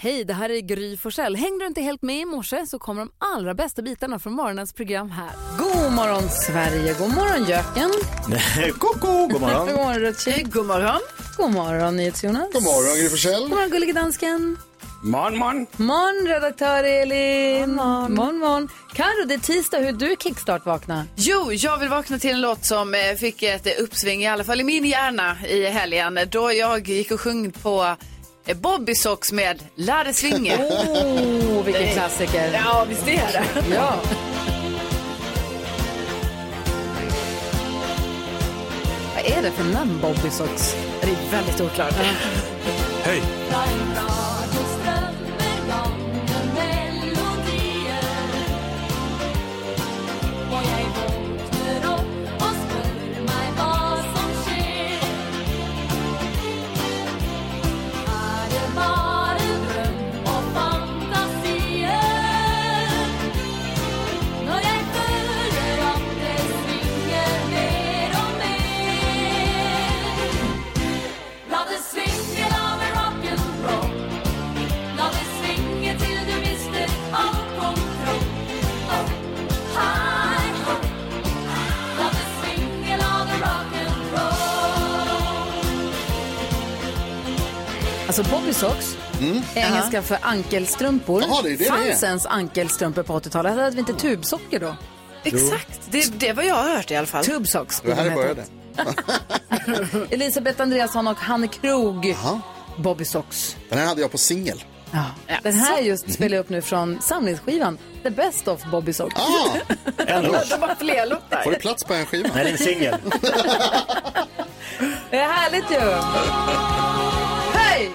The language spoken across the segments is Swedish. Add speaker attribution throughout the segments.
Speaker 1: Hej, det här är Gry Forssell. Hängde du inte helt med i morse så kommer de allra bästa bitarna från morgonens program här. God morgon Sverige, god morgon Jöken.
Speaker 2: Koko, god
Speaker 1: god
Speaker 2: morgon.
Speaker 1: morgon Rutschig. God morgon. God morgon NyhetsJonas.
Speaker 3: God morgon, Gry Forssell.
Speaker 1: God morgon gullige dansken.
Speaker 2: Morgon, morgon.
Speaker 1: Morgon redaktör Elin. Morgon, morgon. Karo, det är tisdag. Hur du kickstart-vakna?
Speaker 4: Jo, jag vill vakna till en låt som eh, fick ett eh, uppsving, i alla fall i min hjärna, i helgen. Då jag gick och sjöng på eh, Bobby Socks med La det svinga.
Speaker 1: Oh, vilken klassiker.
Speaker 4: ja, visst är det.
Speaker 1: Ja. Vad är det för namn, Bobby Socks?
Speaker 4: Det är väldigt oklart.
Speaker 2: Hej.
Speaker 5: Oh,
Speaker 1: Alltså Bobby Socks, engelska för ankelstrumpor.
Speaker 3: Mm. Jaha, det är det det
Speaker 1: Fanns
Speaker 3: är.
Speaker 1: ens ankelstrumpor på 80-talet? Hade vi inte tubsockor då?
Speaker 4: Exakt, det, det var jag har hört i alla fall.
Speaker 1: Tubsocks.
Speaker 3: Det här började.
Speaker 1: Elisabeth Andreasson och Hanne Krog. Bobby Socks.
Speaker 3: Den här hade jag på singel.
Speaker 1: Ja. Den här just spelar jag upp nu från samlingsskivan The Best of Bobby Socks.
Speaker 3: Ah,
Speaker 2: Ändå.
Speaker 4: Det var fler låtar.
Speaker 3: får det plats på en skiva?
Speaker 2: Nej, det är en singel.
Speaker 1: Det är härligt ju! Hej!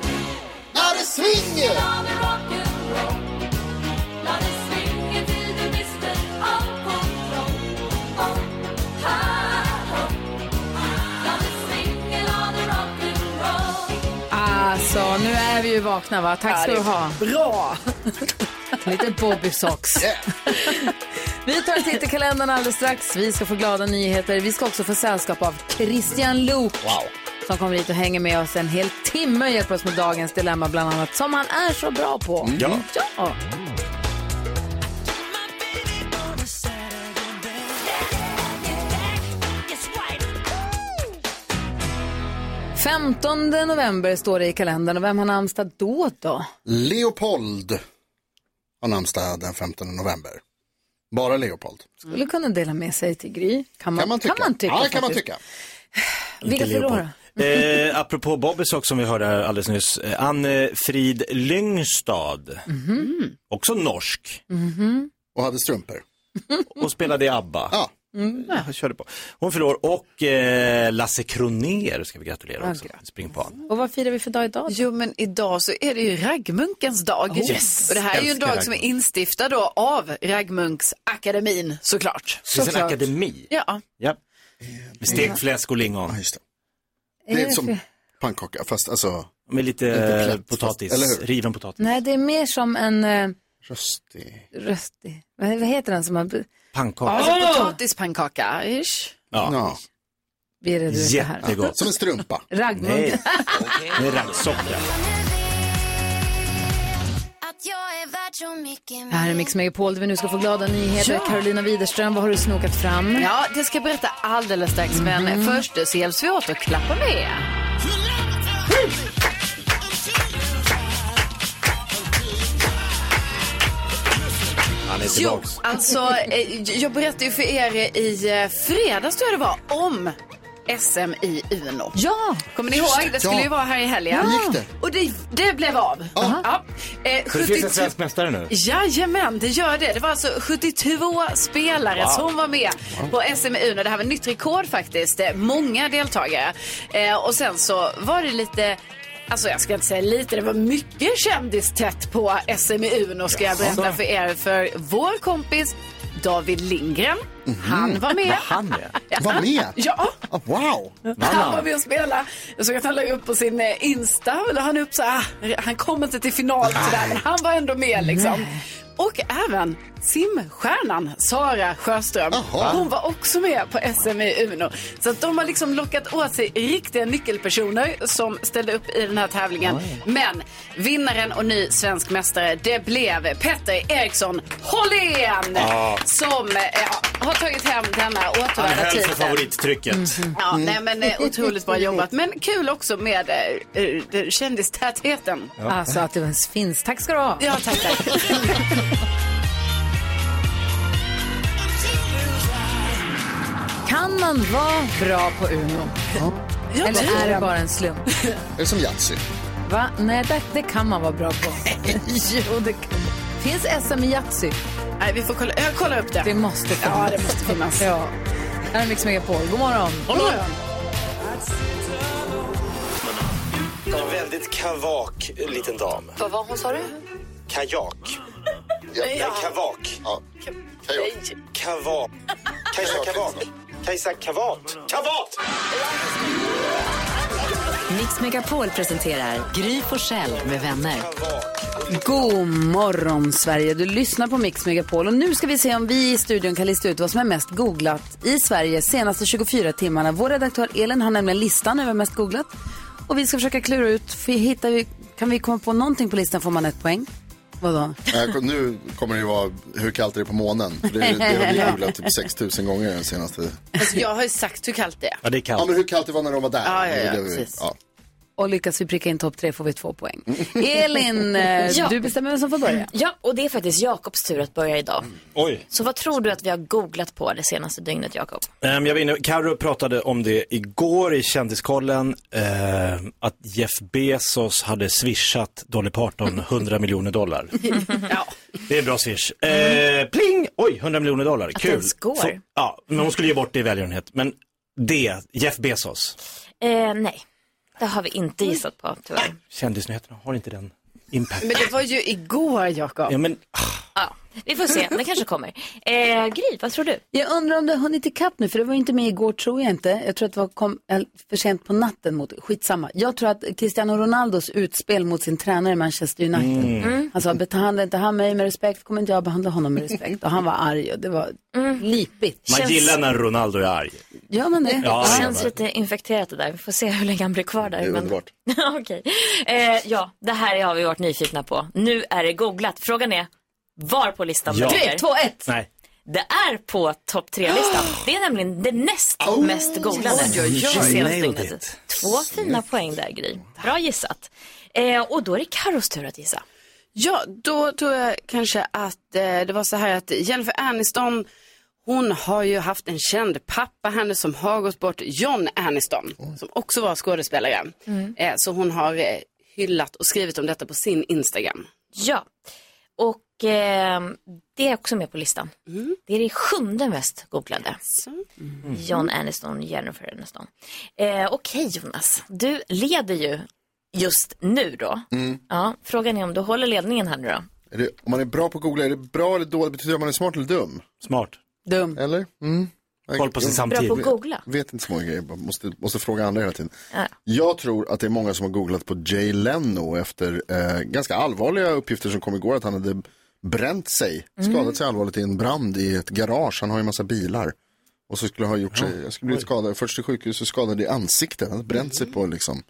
Speaker 3: När det svinger!
Speaker 1: Alltså, nu är vi ju vakna va? Tack ska du ha. Bra! Lite Bobby Socks. Vi tar en titt i kalendern alldeles strax. Vi ska få glada nyheter. Vi ska också få sällskap av Christian Luuk som kommer hit och hänger med oss en hel timme och hjälper oss med dagens dilemma bland annat, som han är så bra på.
Speaker 3: Mm.
Speaker 2: Ja.
Speaker 1: Ja. Femtonde november står det i kalendern och vem har namnsdag då då?
Speaker 3: Leopold har namnsdag den 15 november. Bara Leopold.
Speaker 1: Skulle kunna dela med sig till Gry. Kan man,
Speaker 3: Kan man tycka.
Speaker 1: Kan man tycka,
Speaker 3: ja, kan man
Speaker 1: faktiskt.
Speaker 3: tycka.
Speaker 1: Vilka
Speaker 2: Inte Leopold.
Speaker 1: förlorar?
Speaker 2: Eh, apropå Bobbysock som vi hörde alldeles nyss. eh, Anne-Frid Lyngstad.
Speaker 5: Mm.
Speaker 1: Mhm.
Speaker 2: Också norsk.
Speaker 3: Och hade strumpor.
Speaker 2: Och spelade i ABBA.
Speaker 3: Ja.
Speaker 2: Ja, jag körde på. Hon förlorar. Och eh, Lasse Kronér ska vi gratulera också. Springpan.
Speaker 1: Och vad firar vi för dag idag? Oh,
Speaker 4: Jo, men idag så är det ju raggmunkens dag.
Speaker 2: yes.
Speaker 4: Och det här är ju en
Speaker 2: Älskar
Speaker 4: dag som är
Speaker 2: raggmunk.
Speaker 4: instiftad då av raggmunksakademin såklart.
Speaker 2: Det finns en
Speaker 1: Såklart.
Speaker 2: akademi.
Speaker 4: Ja.
Speaker 2: Ja. Med stekt fläsk och lingon.
Speaker 3: ja, just det.
Speaker 1: Är
Speaker 3: Det är
Speaker 1: det
Speaker 3: som
Speaker 1: för-
Speaker 3: pannkaka, fast alltså
Speaker 2: Med lite
Speaker 3: Lite
Speaker 2: eh,
Speaker 3: plätt,
Speaker 2: potatis.
Speaker 3: eller hur?
Speaker 2: Riven potatis.
Speaker 1: Nej, det är mer som en eh,
Speaker 3: röstig.
Speaker 1: röstig... Vad vad heter den som har...
Speaker 2: Pannkaka.
Speaker 4: Alltså potatispannkaka, ish.
Speaker 2: Ja.
Speaker 3: Ja.
Speaker 1: Vi reder ut det här.
Speaker 2: Jättegott.
Speaker 3: Som en strumpa.
Speaker 1: Raggmunk.
Speaker 2: Nej. Det är raggsockor.
Speaker 1: Det här är Mix Megapol där vi nu ska få glada nyheter. Carolina Widerström, vad har du snokat fram? Mm-hmm.
Speaker 4: Ja, det ska jag berätta alldeles strax. Men först så hjälps vi åt att klappa med.
Speaker 2: Han är
Speaker 4: Jo,
Speaker 2: tillbaks.
Speaker 4: alltså, eh, jag berättade ju för er i eh, fredags tror jag det var om SM i Uno.
Speaker 1: Ja!
Speaker 4: Kommer ni ihåg? Det skulle
Speaker 3: Ja.
Speaker 4: ju vara här i helgen.
Speaker 3: Hur gick det?
Speaker 4: Och det, det blev av. Ja. Eh,
Speaker 2: För det finns en
Speaker 4: 73
Speaker 2: svensk mästare nu.
Speaker 4: Jajamän, det gör det. Det var alltså 72 spelare som var med på SM Uno. Det här var nytt rekord faktiskt. Eh, Många deltagare. Eh, och sen så var det lite Alltså jag ska inte säga lite, det var mycket kändistätt på SM i Uno ska jag berätta för er. För vår kompis David Lindgren, han var med.
Speaker 2: Mhm. Han är.
Speaker 3: Var med?
Speaker 4: Ja,
Speaker 3: Ah, wow!
Speaker 4: han var med och spelade. Jag såg att han la upp på sin eh, Insta. Eller han, upp så här, han kom inte till final, och så där, men han var ändå med. Liksom. Och även simstjärnan Sara Sjöström.
Speaker 3: Jaha.
Speaker 4: Hon var också med på SM i Uno. Så att de har liksom lockat åt sig riktiga nyckelpersoner som ställde upp i den här tävlingen. Men vinnaren och ny svensk mästare, det blev Petter Eriksson Hållén. Som eh, har tagit hem denna
Speaker 2: Han
Speaker 4: återvärda
Speaker 2: höll för
Speaker 4: titel.
Speaker 2: favorittrycket.
Speaker 4: typ. Ja,
Speaker 3: Mm.
Speaker 4: nej, men eh, otroligt bra jobbat. Men kul också med eh, eh, den kändistätheten.
Speaker 1: Alltså att det ens finns. Tack ska du ha.
Speaker 4: Ja, tack, tack.
Speaker 1: Kan man vara bra på Uno? Eller är det bara en slump?
Speaker 3: Är det som Yatzy?
Speaker 1: Va? Nej, det, det kan man vara bra på. jo, det kan man. Finns SM i Yatzy?
Speaker 4: Nej, vi får kolla, jag kollar upp det.
Speaker 1: Det måste finnas.
Speaker 4: Ja, det måste finnas.
Speaker 1: Ja. Här är Mix Megapol. God morgon.
Speaker 4: God morgon.
Speaker 2: En väldigt kavak liten dam.
Speaker 5: Vad var hon, sa du?
Speaker 2: Kajak.
Speaker 3: Ja.
Speaker 2: Nej, kavak.
Speaker 3: Ja. Hej då.
Speaker 2: Kavak. Kajsa Kavak. Kajsa Kavat. Kavat!
Speaker 5: Mix Megapol presenterar Gry Forssell med vänner.
Speaker 1: God morgon, Sverige. Du lyssnar på Mix Megapol. Och nu ska vi se om vi i studion kan lista ut vad som är mest googlat i Sverige senaste 24 timmarna. Vår redaktör Elin har nämligen listan över mest googlat. Och vi ska försöka klura ut, för hittar vi, kan vi komma på någonting på listan får man ett poäng. Vadå?
Speaker 3: Nej, Eh, Nu kommer det ju vara hur kallt är det på månen? För Det, det har vi googlat typ 6000 gånger den senaste.
Speaker 4: Alltså, jag har ju sagt hur kallt det är.
Speaker 2: Ja, det är
Speaker 3: Ja,
Speaker 2: kallt.
Speaker 3: men hur kallt det var när de var där.
Speaker 4: Ja, ja, ja,
Speaker 3: Det är det vi-
Speaker 4: precis.
Speaker 3: ja.
Speaker 1: Och lyckas vi pricka in topp tre får vi två poäng. Elin, eh,
Speaker 6: Ja.
Speaker 1: du bestämmer vem som får börja.
Speaker 6: Ja, och det är faktiskt Jakobs tur att börja idag.
Speaker 2: Mm. Oj.
Speaker 6: Så vad tror du att vi har googlat på det senaste dygnet, Jakob?
Speaker 2: Ehm, jag var inne, Karo pratade om det igår i Kändiskollen, ehm, att Jeff Bezos hade swishat Dolly Parton 100 miljoner dollar.
Speaker 4: Ja.
Speaker 2: Det är bra swish. Eh, pling! Oj, 100 miljoner dollar. Kul.
Speaker 6: ens går.
Speaker 2: Så- ja, men hon skulle ge bort det i välgörenhet. Men det, Jeff Bezos.
Speaker 6: Eh, nej, det har vi inte gissat på tyvärr.
Speaker 2: Kändisnyheterna har inte den impact.
Speaker 4: Men det var ju igår,
Speaker 2: Ja,
Speaker 4: Jakob.
Speaker 2: men
Speaker 6: Ja, vi får se, det kanske kommer. Eh, Gry, vad tror du?
Speaker 1: Jag undrar om du har hunnit ikapp nu, för det var ju inte med igår tror jag inte. Jag tror att det var kom, eller, för sent på natten mot, skitsamma. Jag tror att Cristiano Ronaldos utspel mot sin tränare i Manchester United.
Speaker 6: Mm.
Speaker 1: Han sa, behandla inte han mig med respekt kommer inte jag behandla honom med respekt. Och han var arg och det var
Speaker 6: Mm.
Speaker 1: lipigt.
Speaker 2: man
Speaker 6: Känns-
Speaker 2: gillar när Ronaldo är arg.
Speaker 1: Gör man det?
Speaker 2: Ja,
Speaker 6: Det
Speaker 2: ja,
Speaker 6: känns
Speaker 2: men-
Speaker 6: lite infekterat det där, vi får se hur länge han blir kvar där.
Speaker 3: Det är underbart.
Speaker 6: Okej. Eh, ja, det här har vi varit nyfikna på. Nu är det googlat. Frågan är, var på listan
Speaker 2: Ja.
Speaker 6: det
Speaker 1: Tre,
Speaker 6: ligger?
Speaker 1: två, ett.
Speaker 2: Nej.
Speaker 6: Det är på topp tre-listan. Det är nämligen det näst
Speaker 1: Oh,
Speaker 6: mest googlade.
Speaker 2: oj.
Speaker 6: Senaste
Speaker 2: Mm. Nailed
Speaker 6: dygnet.
Speaker 2: it.
Speaker 6: Två fina poäng där, Gry. Bra gissat. Eh, och då är det Carros tur att gissa.
Speaker 4: Ja, då tror jag kanske att eh, det var så här att Jennifer Aniston, hon har ju haft en känd pappa, henne som har gått bort, John Aniston, som också var skådespelare. Eh, så hon har eh, hyllat och skrivit om detta på sin Instagram.
Speaker 6: Ja, och eh, det är också med på listan.
Speaker 2: Mm.
Speaker 6: Det är det sjunde mest googlade.
Speaker 4: Så.
Speaker 6: John Aniston, Jennifer Aniston. Eh, Okej Jonas, du leder ju just nu då. Ja, frågan är om du håller ledningen här nu då.
Speaker 3: Mm. Är det, om man är bra på att googla, är det bra eller dåligt? Betyder det att man är smart eller dum?
Speaker 2: Smart.
Speaker 1: Dum.
Speaker 3: Eller? Mm.
Speaker 2: Koll på sin
Speaker 6: Bra
Speaker 2: samtid.
Speaker 6: på att googla.
Speaker 3: Vet inte så många grejer, bara måste, måste fråga andra hela tiden.
Speaker 6: Ja.
Speaker 3: Jag tror att det är många som har googlat på Jay Leno efter eh, ganska allvarliga uppgifter som kom igår att han hade bränt sig,
Speaker 6: Mm.
Speaker 3: skadat sig allvarligt i en brand i ett garage. Han har ju en massa bilar. Och så skulle han ha gjort sig, jag skulle bli skadad, först till sjukhus och skadad i ansiktet. Han hade bränt
Speaker 6: Mm.
Speaker 3: sig på liksom.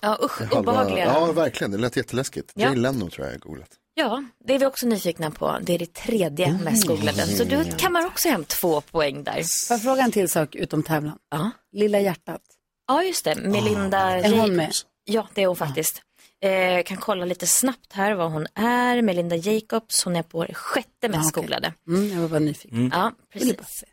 Speaker 6: Ja, usch,
Speaker 3: halva-
Speaker 6: obehagliga.
Speaker 3: Ja, verkligen. Det lät jätteläskigt.
Speaker 6: Ja.
Speaker 3: Jay Leno tror jag jag har googlat.
Speaker 6: Ja, det är vi också nyfikna på. Det är det tredje
Speaker 1: Mm.
Speaker 6: mest googlade. Så du kammar också hem två poäng där.
Speaker 1: Får jag fråga en till sak utom tävlan?
Speaker 6: Ja,
Speaker 1: Lilla hjärtat.
Speaker 6: ja just det. Melinda
Speaker 1: Är
Speaker 6: Jacobs.
Speaker 1: hon med?
Speaker 6: Ja, det är hon faktiskt. Eh, kan kolla lite snabbt här vad hon är. Melinda Jacobs, hon är på det sjätte mest
Speaker 1: okej.
Speaker 6: googlade.
Speaker 1: Mm, jag var bara nyfiken.
Speaker 6: Ja,
Speaker 1: Ville bara
Speaker 6: precis.
Speaker 1: se.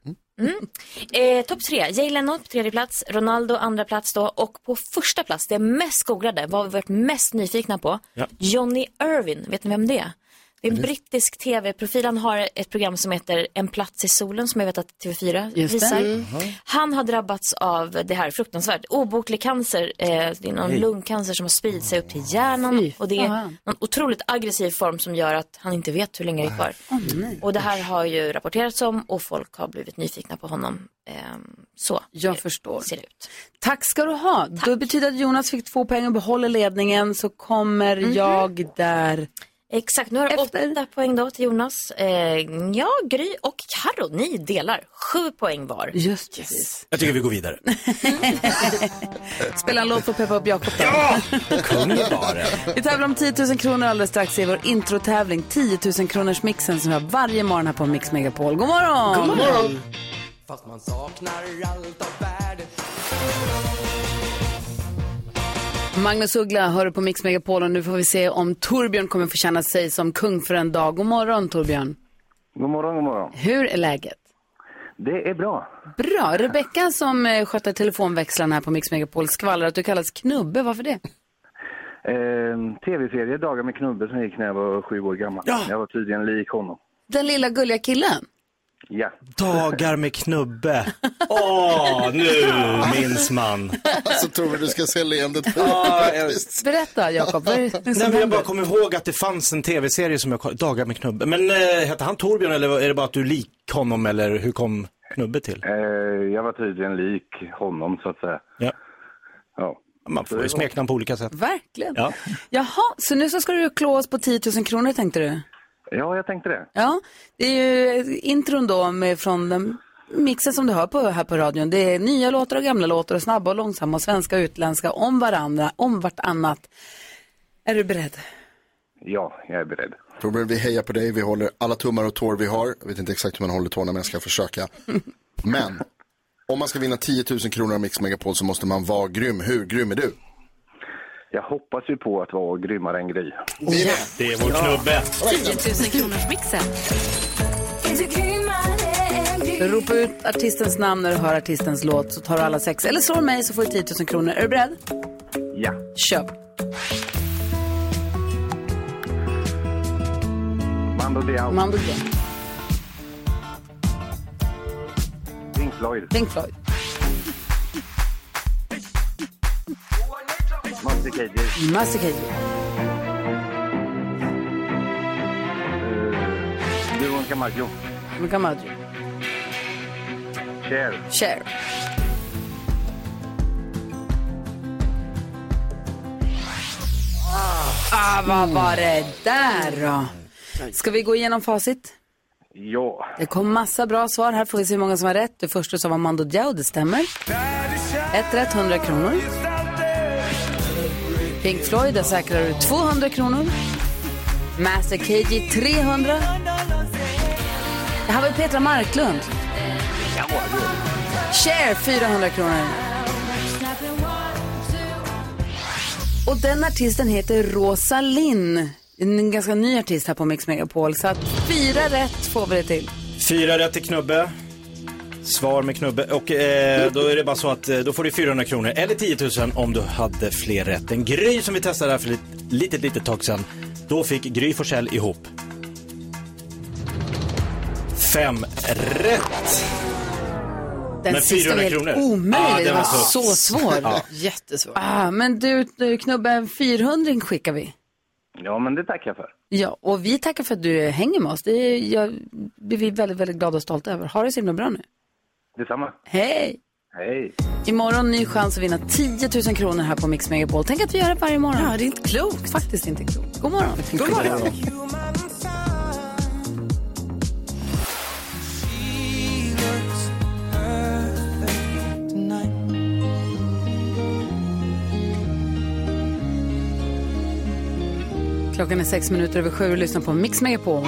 Speaker 6: Eh, Topp tre, Jay Leno på tredje plats, Ronaldo andra plats då och på första plats, det mest googlade, vad vi varit mest nyfikna på,
Speaker 2: Ja.
Speaker 6: Johnny Irvin, vet ni vem det är? Det är en brittisk tv-profil, han har ett program som heter En plats i solen som jag vet att TV4
Speaker 1: Just det. Mm.
Speaker 6: visar. Han har drabbats av det här fruktansvärt, obotlig cancer, eh, det är någon lungcancer som har spridit sig upp till hjärnan
Speaker 1: Fy
Speaker 6: och det är
Speaker 1: fan.
Speaker 6: någon otroligt aggressiv form som gör att han inte vet hur länge det är kvar. Och det här har ju rapporterats om och folk har blivit nyfikna på honom. Ehm, så
Speaker 1: Jag
Speaker 6: eh,
Speaker 1: förstår.
Speaker 6: ser det ut.
Speaker 1: Tack ska du ha.
Speaker 6: Mhm.
Speaker 1: Då betyder att Jonas fick två poäng och behåller ledningen så kommer jag där
Speaker 6: Exakt, nu har du åtta poäng då till Jonas. Eh, ja, Gry och Karo, ni delar sju poäng var.
Speaker 1: Just precis.
Speaker 2: Jag tycker vi går vidare.
Speaker 1: Spela en låt för att peppa upp Jakob då.
Speaker 2: Kung var det.
Speaker 1: Vi tävlar om 10 000 kronor alldeles strax i vår introtävling 10 000 kronors mixen som vi har varje morgon här på Mix Megapol. God morgon! God morgon!
Speaker 7: Fast man saknar allt av värde
Speaker 1: Magnus Uggla hör du på Mix Megapol och nu får vi se om Torbjörn kommer få känna sig som kung för en dag. God morgon Torbjörn!
Speaker 8: God morgon, god morgon.
Speaker 1: Hur är läget?
Speaker 8: Det är bra.
Speaker 1: Bra! Rebecka som eh, sköter telefonväxlarna här på Mix Megapol skvallrar att du kallas Knubbe. Varför det?
Speaker 8: Eh, Tv-serie Dagar med Knubbe som gick när jag var sju år gammal. Jag var tydligen lik honom.
Speaker 1: Den lilla gulliga killen?
Speaker 8: Ja.
Speaker 2: Dagar med knubbe. Åh, nu minns man.
Speaker 3: Alltså Tove, du ska se leendet på.
Speaker 2: Ja, jag-
Speaker 1: Berätta Jakob, vad är det
Speaker 2: Nej,
Speaker 1: som
Speaker 2: men jag
Speaker 1: händer?
Speaker 2: bara kommer ihåg att det fanns en tv-serie som jag kollade, Dagar med knubbe. Men eh, hette han Torbjörn eller är det bara att du är lik honom eller hur kom knubbe till?
Speaker 8: Eh, jag var tydligen lik honom, så att säga.
Speaker 2: Ja.
Speaker 8: Ja.
Speaker 2: Man får ju smeknamn på olika sätt.
Speaker 1: Verkligen.
Speaker 2: Ja.
Speaker 1: Jaha, så nu så ska du klå oss på 10 000 kronor tänkte du?
Speaker 8: ja, jag tänkte det.
Speaker 1: Ja, det är ju intron då med, från den mixen som du hör på här på radion. Det är nya låtar och gamla låtar och snabba och långsamma och svenska och utländska om varandra, om vartannat. Är du beredd?
Speaker 8: Ja, jag är beredd.
Speaker 3: Torbjörn, vi hejar på dig. Vi håller alla tummar och tår vi har. Jag vet inte exakt hur man håller tårna, men jag ska försöka. Men om man ska vinna 10 000 kronor av Mix Megapol så måste man vara grym. Hur grym är du?
Speaker 8: Jag hoppas ju på att vara grymmare än Gry.
Speaker 3: Vi är med.
Speaker 2: Det är vår knubbe.
Speaker 9: 10 000 kronors mixen.
Speaker 1: Alltså, Ropa ut artistens namn när du hör artistens låt så tar du alla sex. Eller slår mig så får du 10 000 kronor. Är du beredd?
Speaker 8: Ja.
Speaker 1: Kör.
Speaker 8: Mando Diao,
Speaker 1: Mando Green,
Speaker 8: Pink Floyd,
Speaker 1: Pink Floyd,
Speaker 8: Monty KG,
Speaker 1: Master Cage,
Speaker 8: eh, Duon Camaggio,
Speaker 1: Luca Maggio,
Speaker 8: Cher,
Speaker 1: Cher, Ah, vad var det där då? Ska vi gå igenom facit?
Speaker 8: ja.
Speaker 1: Det kom massa bra svar. Här får vi se hur många som har rätt. Det första som var Mando Diao, det stämmer. Ett rätt, 100 kronor. Pink Floyd, där säkrar du 200 kronor. Master KG 300. Det här var Petra Marklund. Cher 400 kronor. Och den artisten heter Rosa Linn. En ganska ny artist här på Mix Megapol. Så att fyra rätt får vi det till.
Speaker 2: Fyra rätt till knubbe. Svar med knubbe. Och eh, då är det bara så att eh, då får du 400 kronor eller 10 000 om du hade fler rätt. En Gry som vi testade här för ett litet, litet tag sedan. Då fick Gry Forssell ihop. Fem rätt.
Speaker 1: Den
Speaker 2: Men
Speaker 1: sista var
Speaker 2: 400
Speaker 1: helt
Speaker 2: kronor.
Speaker 1: omöjlig.
Speaker 2: Ja,
Speaker 1: den
Speaker 2: den
Speaker 1: var
Speaker 2: var tuff.
Speaker 1: så svår.
Speaker 10: Jättesvårt.
Speaker 1: Ah, men du, du Knubbe, 400 skickar vi.
Speaker 8: Ja, men det tackar jag för.
Speaker 1: Ja, och vi tackar för att du hänger med oss. Det är, jag, det är vi väldigt, väldigt glada och stolta över. Ha det så himla bra nu.
Speaker 8: Detsamma.
Speaker 1: Hej!
Speaker 8: Hej.
Speaker 1: Imorgon ny chans att vinna 10 000 kronor här på Mix Megapol. Tänk att vi gör det varje morgon.
Speaker 10: Ja, det är inte klokt.
Speaker 1: Faktiskt inte klokt. God morgon. God morgon. Klockan är sex minuter över sju och lyssnar på Mix Megapol.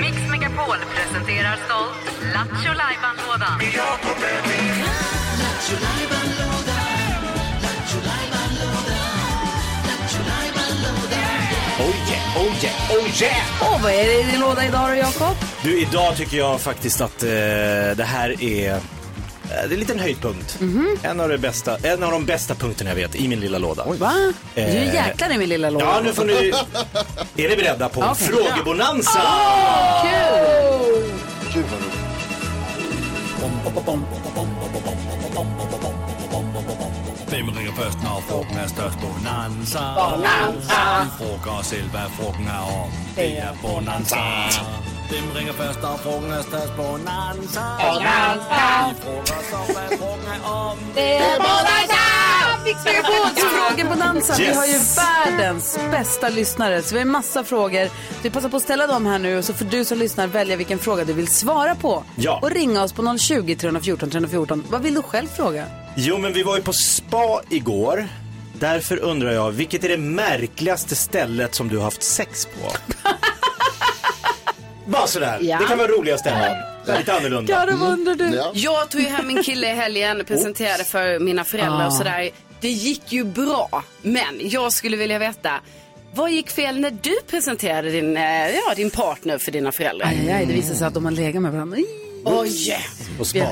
Speaker 9: Mix Megapol presenterar stolt Lattjo Lajban-lådan.
Speaker 2: Oh yeah, oh yeah, oh yeah!
Speaker 1: Åh, vad är det i din låda idag då, Jakob?
Speaker 2: Du, idag tycker jag faktiskt att eh, det här är, eh, det är en liten höjdpunkt.
Speaker 1: Mhm.
Speaker 2: En, av det bästa, en av de bästa punkterna jag vet i min lilla låda.
Speaker 1: Va? Du
Speaker 2: Eh.
Speaker 1: är jäklar i min lilla låda.
Speaker 2: Ja, nu får ni... Är ni beredda på
Speaker 1: Okej.
Speaker 2: frågebonanza?
Speaker 1: Kul!
Speaker 7: Hvem ringer først, når frugten er størst? Bonanza. Vi frugger os selv, hvad frugten er om. Det er Bonanza. Hvem ringer først, når frugten er størst? Bonanza. Vi frugger os selv, hvad frugten er om.
Speaker 1: Mix Megapol! Frågebonanza. Vi
Speaker 2: Yes.
Speaker 1: har ju världens bästa lyssnare, så vi har massa frågor. Så vi passar på att ställa dem här nu och så får du som lyssnar välja vilken fråga du vill svara på.
Speaker 2: Ja.
Speaker 1: Och ringa oss på 020 314 314. Vad vill du själv fråga?
Speaker 2: Jo, men vi var ju på spa igår. Därför undrar jag, vilket är det märkligaste stället som du har haft sex på? Bara sådär.
Speaker 1: Ja.
Speaker 2: Det kan vara roligast ämnen. Lite annorlunda. Mm.
Speaker 1: undrar du.
Speaker 3: Ja.
Speaker 10: Jag tog ju hem min kille i helgen, presenterade för mina föräldrar och sådär. Det gick ju bra, men jag skulle vilja veta, vad gick fel när du presenterade din, eh, ja, din partner för dina föräldrar?
Speaker 1: Aj, aj, det visar sig att de har legat med varandra.
Speaker 10: Oj!
Speaker 2: På spa.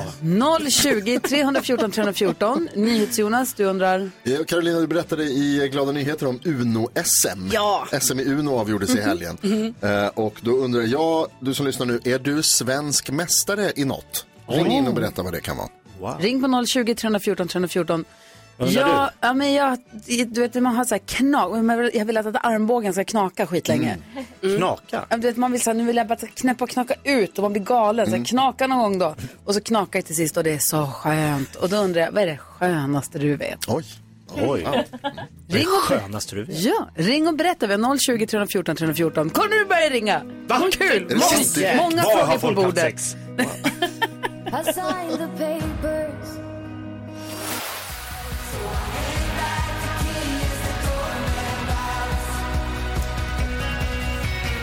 Speaker 1: 020 314 314. NyhetsJonas, du undrar?
Speaker 3: Eh, Carolina, du berättade i Glada Nyheter om Uno-SM.
Speaker 10: Ja.
Speaker 3: SM i Uno avgjordes i helgen. Eh, och då undrar jag, du som lyssnar nu, är du svensk mästare i något? Ring in och berätta vad det kan vara.
Speaker 1: Ring på 020 314 314.
Speaker 2: Undrar
Speaker 1: Ja, ja, men jag, du vet, man har så här knak, men jag vill- jag vill att armbågen ska knaka skitlänge.
Speaker 2: Knaka.
Speaker 1: Mm. Ja, Du vet, man vill så här, nu vill jag bara knäppa och knaka ut och man blir galen.
Speaker 2: Mm.
Speaker 1: Så här, knaka någon gång då. Och så knakar jag till sist och det är så skönt. Och då undrar jag, vad är det skönaste du vet?
Speaker 3: Oj.
Speaker 2: Oj. Det är det skönaste du vet.
Speaker 1: Ja, ring och berätta. Vi har 020 314 314. Kom nu börja ringa! Vad kul!
Speaker 3: det sant?
Speaker 1: Många, många
Speaker 2: Var
Speaker 1: frågor
Speaker 2: har
Speaker 1: på
Speaker 2: folk haft
Speaker 1: bordet.
Speaker 2: sex?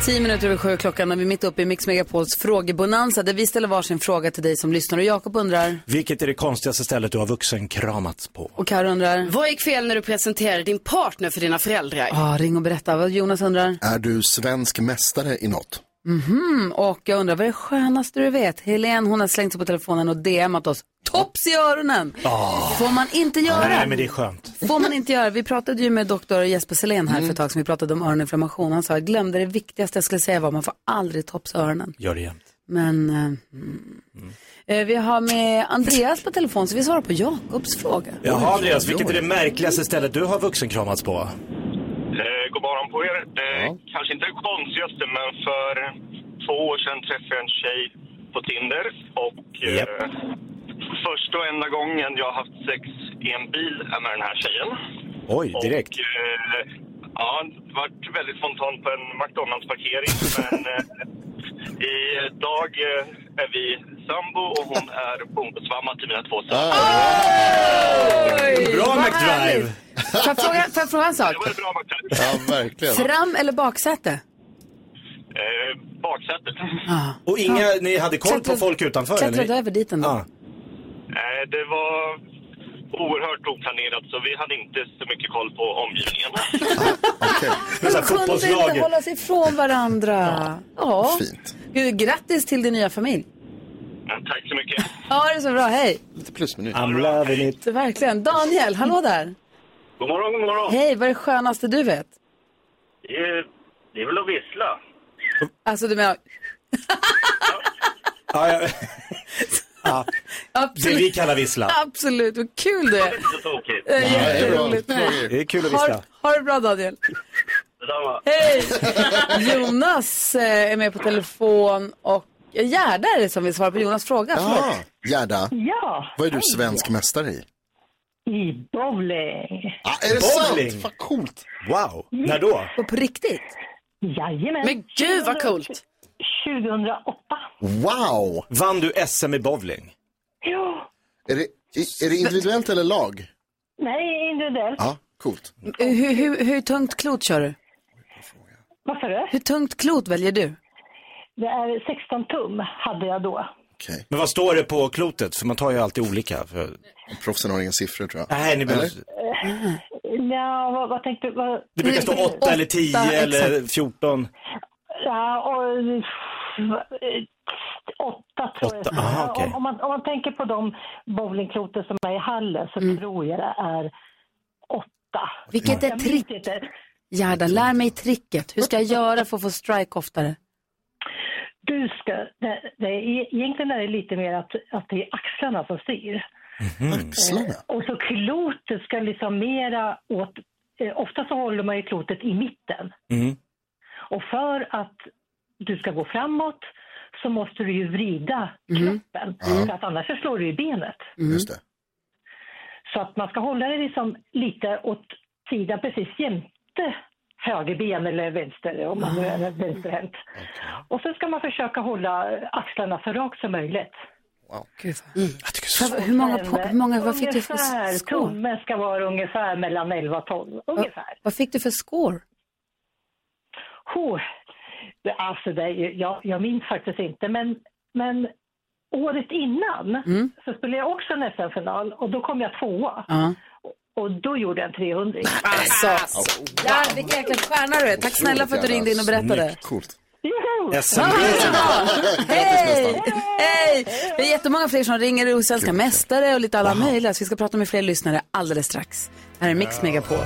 Speaker 1: Tio minuter över sju är klockan när vi är mitt uppe i Mix Megapols frågebonanza där vi ställer varsin fråga till dig som lyssnar. Och Jakob undrar,
Speaker 2: Vilket är det konstigaste stället du har vuxenkramats på?
Speaker 1: och Karo undrar.
Speaker 10: Vad gick fel när du presenterade din partner för dina föräldrar?
Speaker 1: Ja, ring och berätta. Vad Jonas undrar.
Speaker 3: Är du svensk mästare i något?
Speaker 1: Mhm, Och jag undrar, vad är det skönaste du vet? Helene, hon har slängt sig på telefonen och DMat oss. Tops i öronen! Får man inte göra.
Speaker 2: Nej, men det är skönt.
Speaker 1: Får man inte göra. Vi pratade ju med doktor Jesper Selén här
Speaker 2: Mm.
Speaker 1: för ett tag sedan. Vi pratade om öroninflammation. Han sa, jag glömde det viktigaste jag skulle säga var, man får aldrig tops i öronen.
Speaker 2: Gör det jämt.
Speaker 1: Men eh, mm. Eh, vi har med Andreas på telefon så vi svarar på Jakobs fråga.
Speaker 2: Jaha, Andreas, vilket är det märkligaste stället du har vuxenkramats på?
Speaker 11: Eh, god morgon på er. Det är kanske inte det konstigaste, men för två år sedan träffade jag en tjej på Tinder. Och eh,
Speaker 2: Japp.
Speaker 11: första och enda gången jag har haft sex i en bil är med den här tjejen.
Speaker 2: Oj, direkt.
Speaker 11: Och, eh, ja, det var väldigt spontant på en McDonalds-parkering. men eh, idag eh, är vi sambo och hon är bonusmamma till mina två söner.
Speaker 2: Bra
Speaker 1: Vad
Speaker 2: McDrive!
Speaker 1: härligt. Får jag fråga, får jag fråga en sak?
Speaker 11: Det var det bra, Max.
Speaker 3: Ja, verkligen.
Speaker 1: Fram eller baksäte?
Speaker 11: Eh, baksätet.
Speaker 1: Ah.
Speaker 2: Och inga, ni hade koll på
Speaker 1: Klättrade-
Speaker 2: folk utanför? eller?
Speaker 1: Klättrade över dit ändå.
Speaker 2: Ja.
Speaker 11: Nej, Eh, det var oerhört oplanerat så vi hade inte så mycket koll på omgivningen.
Speaker 3: Okej,
Speaker 2: Men så
Speaker 1: De
Speaker 2: här
Speaker 1: kunde inte
Speaker 2: fotbollslaget.
Speaker 1: hålla sig ifrån varandra. Ja.
Speaker 3: fint.
Speaker 1: Gud, grattis till din nya familj.
Speaker 11: Men tack så mycket.
Speaker 1: Ja, det är så bra. Hej.
Speaker 3: Lite plusmeny.
Speaker 2: I'm loving it.
Speaker 1: Så verkligen. Daniel, hallå där.
Speaker 11: God morgon, god morgon.
Speaker 1: Hej, vad är det skönaste du vet?
Speaker 11: Det är väl att vissla.
Speaker 1: Alltså, du menar...
Speaker 2: Ja, ja. Det vi
Speaker 1: Absolut.
Speaker 2: kallar vissla.
Speaker 1: Absolut, vad kul det är.
Speaker 11: Så tokigt.
Speaker 1: Det är
Speaker 3: Ja, det är bra.
Speaker 1: jätteroligt.
Speaker 3: Frågor.
Speaker 2: Det är kul att
Speaker 1: Ha,
Speaker 2: vissla.
Speaker 1: ha det bra, Daniel.
Speaker 11: Detsamma.
Speaker 1: Hej! Jonas eh, är med på telefon och eh, Gerda är det som vill svara på Jonas fråga.
Speaker 3: Ja,
Speaker 1: Förlåt.
Speaker 3: Ah, Gerda,
Speaker 12: Ja,
Speaker 3: vad är du svensk mästare i?
Speaker 12: i bowling.
Speaker 3: Ah, är det
Speaker 2: Bowling.
Speaker 3: sant? Vad coolt.
Speaker 2: Wow, när då?
Speaker 1: Och på riktigt.
Speaker 12: Jajamän.
Speaker 10: Men gud vad coolt!
Speaker 12: 2008.
Speaker 3: Wow.
Speaker 2: Vann du SM i bowling?
Speaker 12: Ja.
Speaker 3: Är det, i- är det individuellt eller lag?
Speaker 12: Nej, individuellt.
Speaker 3: Ja, coolt.
Speaker 1: Eh, Hur, hur, hur tungt klot kör du?
Speaker 12: Varför det?
Speaker 1: Hur tungt klot väljer du?
Speaker 12: Det är 16 tum hade jag då.
Speaker 3: Okej,
Speaker 2: Men vad står det på klotet? För man tar ju alltid olika. För...
Speaker 3: proffsen har inga siffror tror jag.
Speaker 2: Nej, ni behöver...
Speaker 3: Eller?
Speaker 12: Eh, Ja, vad, vad tänkte du? Vad,
Speaker 2: Det brukar stå 8 eller 10
Speaker 1: Åtta,
Speaker 2: eller 14.
Speaker 12: ja, och, eh, åtta tror
Speaker 2: Åtta,
Speaker 12: jag.
Speaker 2: aha, okej.
Speaker 12: om, om, man, om man tänker på de bowlingkloten som är i hallen så tror jag det är åtta.
Speaker 1: Vilket är
Speaker 12: Jag minns
Speaker 1: trick?
Speaker 12: inte.
Speaker 1: Gerda, lär mig tricket. Hur ska jag göra för att få strike oftare?
Speaker 12: Du ska, det, det är, e- egentligen är det lite mer att, att det är axlarna som styr. Mm. Eh,
Speaker 3: Axlarna?
Speaker 12: Och så klotet ska liksom mera åt... Eh, ofta så håller man ju klotet i mitten.
Speaker 2: Mm.
Speaker 12: Och för att du ska gå framåt så måste du ju vrida kroppen. För att annars så slår du i benet.
Speaker 3: Mm. Just det.
Speaker 12: Så att man ska hålla det liksom lite åt sida precis jämte högerben eller vänster om man nu är vänsterhänt. Och så ska man försöka hålla axlarna så rakt som möjligt.
Speaker 1: Gud, vad-
Speaker 3: Mm.
Speaker 1: Vad- hur många, po- hur många, vad fick du för
Speaker 12: Ungefär,
Speaker 1: score?
Speaker 12: Tummen ska vara ungefär mellan 11 och 12. Ungefär.
Speaker 1: Vad fick du för score?
Speaker 12: Oh, det- alltså det, är ju- jag, jag minns faktiskt inte, men, men året innan så spelade jag också en SM-final och då kom jag tvåa.
Speaker 1: Ja.
Speaker 12: Och då gjorde jag en 300.
Speaker 1: Alltså, ja, vilken jäkla stjärna du är. Tack snälla för att du ringde in och berättade.
Speaker 3: Coolt.
Speaker 1: Ja,
Speaker 3: Ja,
Speaker 1: det är bra. Hej!
Speaker 3: nästan.
Speaker 1: Hej! Det är jättemånga fler som ringer och svenska mästare och lite alla möjliga. Så vi ska prata med fler lyssnare alldeles strax. Här är Mix Megapol.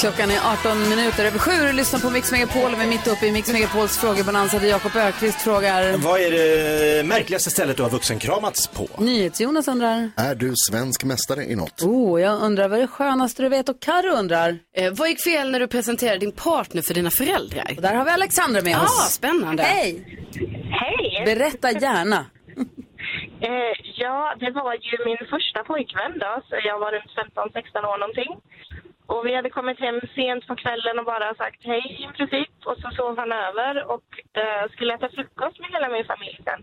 Speaker 1: Klockan är 18 minuter över sju och lyssnar på Mix Megapol. Vi är mitt uppe i Mix Megapols frågebonanza där Jakob Ökvist frågar.
Speaker 2: Vad är det märkligaste stället du har vuxenkramats på?
Speaker 1: NyhetsJonas undrar.
Speaker 3: Är du svensk mästare i något?
Speaker 1: Oh, jag undrar vad är det skönaste du vet och Karo undrar.
Speaker 4: Eh, vad gick fel när du presenterade din partner för dina föräldrar?
Speaker 1: Och där har vi Alexandra med
Speaker 4: ah,
Speaker 1: oss.
Speaker 4: Spännande.
Speaker 1: Hej!
Speaker 13: Hej!
Speaker 1: Berätta gärna.
Speaker 13: Eh, ja, det var ju min första pojkvän då, så jag var runt 15-16 år någonting. Och vi hade kommit hem sent på kvällen och bara sagt hej i princip. Och så sov han över och eh, skulle äta frukost med hela min familj sen.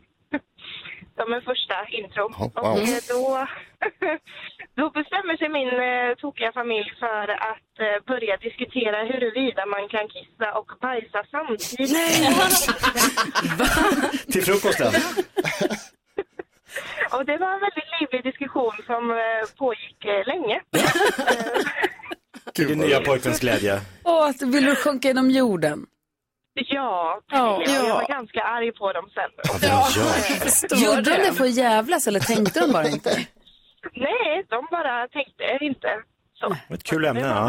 Speaker 13: Som en första intro.
Speaker 14: wow.
Speaker 13: Och eh, då, då bestämmer sig min eh, tokiga familj för att eh, börja diskutera huruvida man kan kissa och bajsa samtidigt.
Speaker 2: Till frukosten?
Speaker 13: Och det var en väldigt livlig diskussion som eh, pågick eh, länge.
Speaker 2: Till din nya pojkväns glädje.
Speaker 1: Åh, att- vill du sjunka genom jorden?
Speaker 13: Ja,
Speaker 1: Ja.
Speaker 13: jag var ganska arg på dem sen.
Speaker 1: Gjorde de det för att jävlas eller tänkte de bara inte?
Speaker 13: Nej, de bara tänkte inte. Så.
Speaker 2: Ett kul ämne,
Speaker 13: det var
Speaker 2: ja.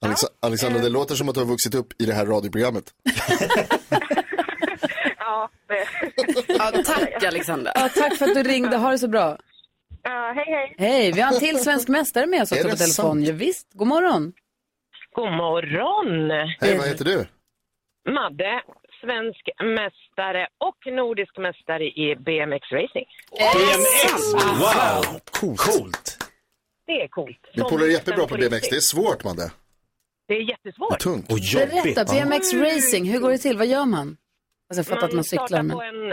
Speaker 13: bara...
Speaker 3: Alexa- Alexandra, det låter som att du har vuxit upp i det här radioprogrammet.
Speaker 13: Ja, det.
Speaker 4: ja, tack Alexander.
Speaker 1: Ja, tack för att du ringde. Ha det så bra.
Speaker 13: Ja, hej, hej.
Speaker 1: Hej, vi har en till svensk mästare med oss
Speaker 3: Är
Speaker 1: också på
Speaker 3: det
Speaker 1: telefon.
Speaker 3: sant?
Speaker 1: Ja, visst, god morgon.
Speaker 14: God morgon!
Speaker 3: Hej, vad heter du?
Speaker 14: Madde, svensk mästare och nordisk mästare i BMX racing.
Speaker 2: BMX? Wow!
Speaker 3: Coolt.
Speaker 14: Det är coolt.
Speaker 3: Min
Speaker 14: Som
Speaker 3: polare Jeppe är bra på
Speaker 14: på
Speaker 3: BMX.
Speaker 14: riktigt.
Speaker 3: Det är svårt, man det.
Speaker 14: Det är jättesvårt.
Speaker 3: Det är tungt.
Speaker 2: Och
Speaker 1: Berätta, BMX racing, hur går det till? Vad gör man? Alltså, jag fattar att man
Speaker 14: startar
Speaker 1: cyklar, men...
Speaker 14: på en,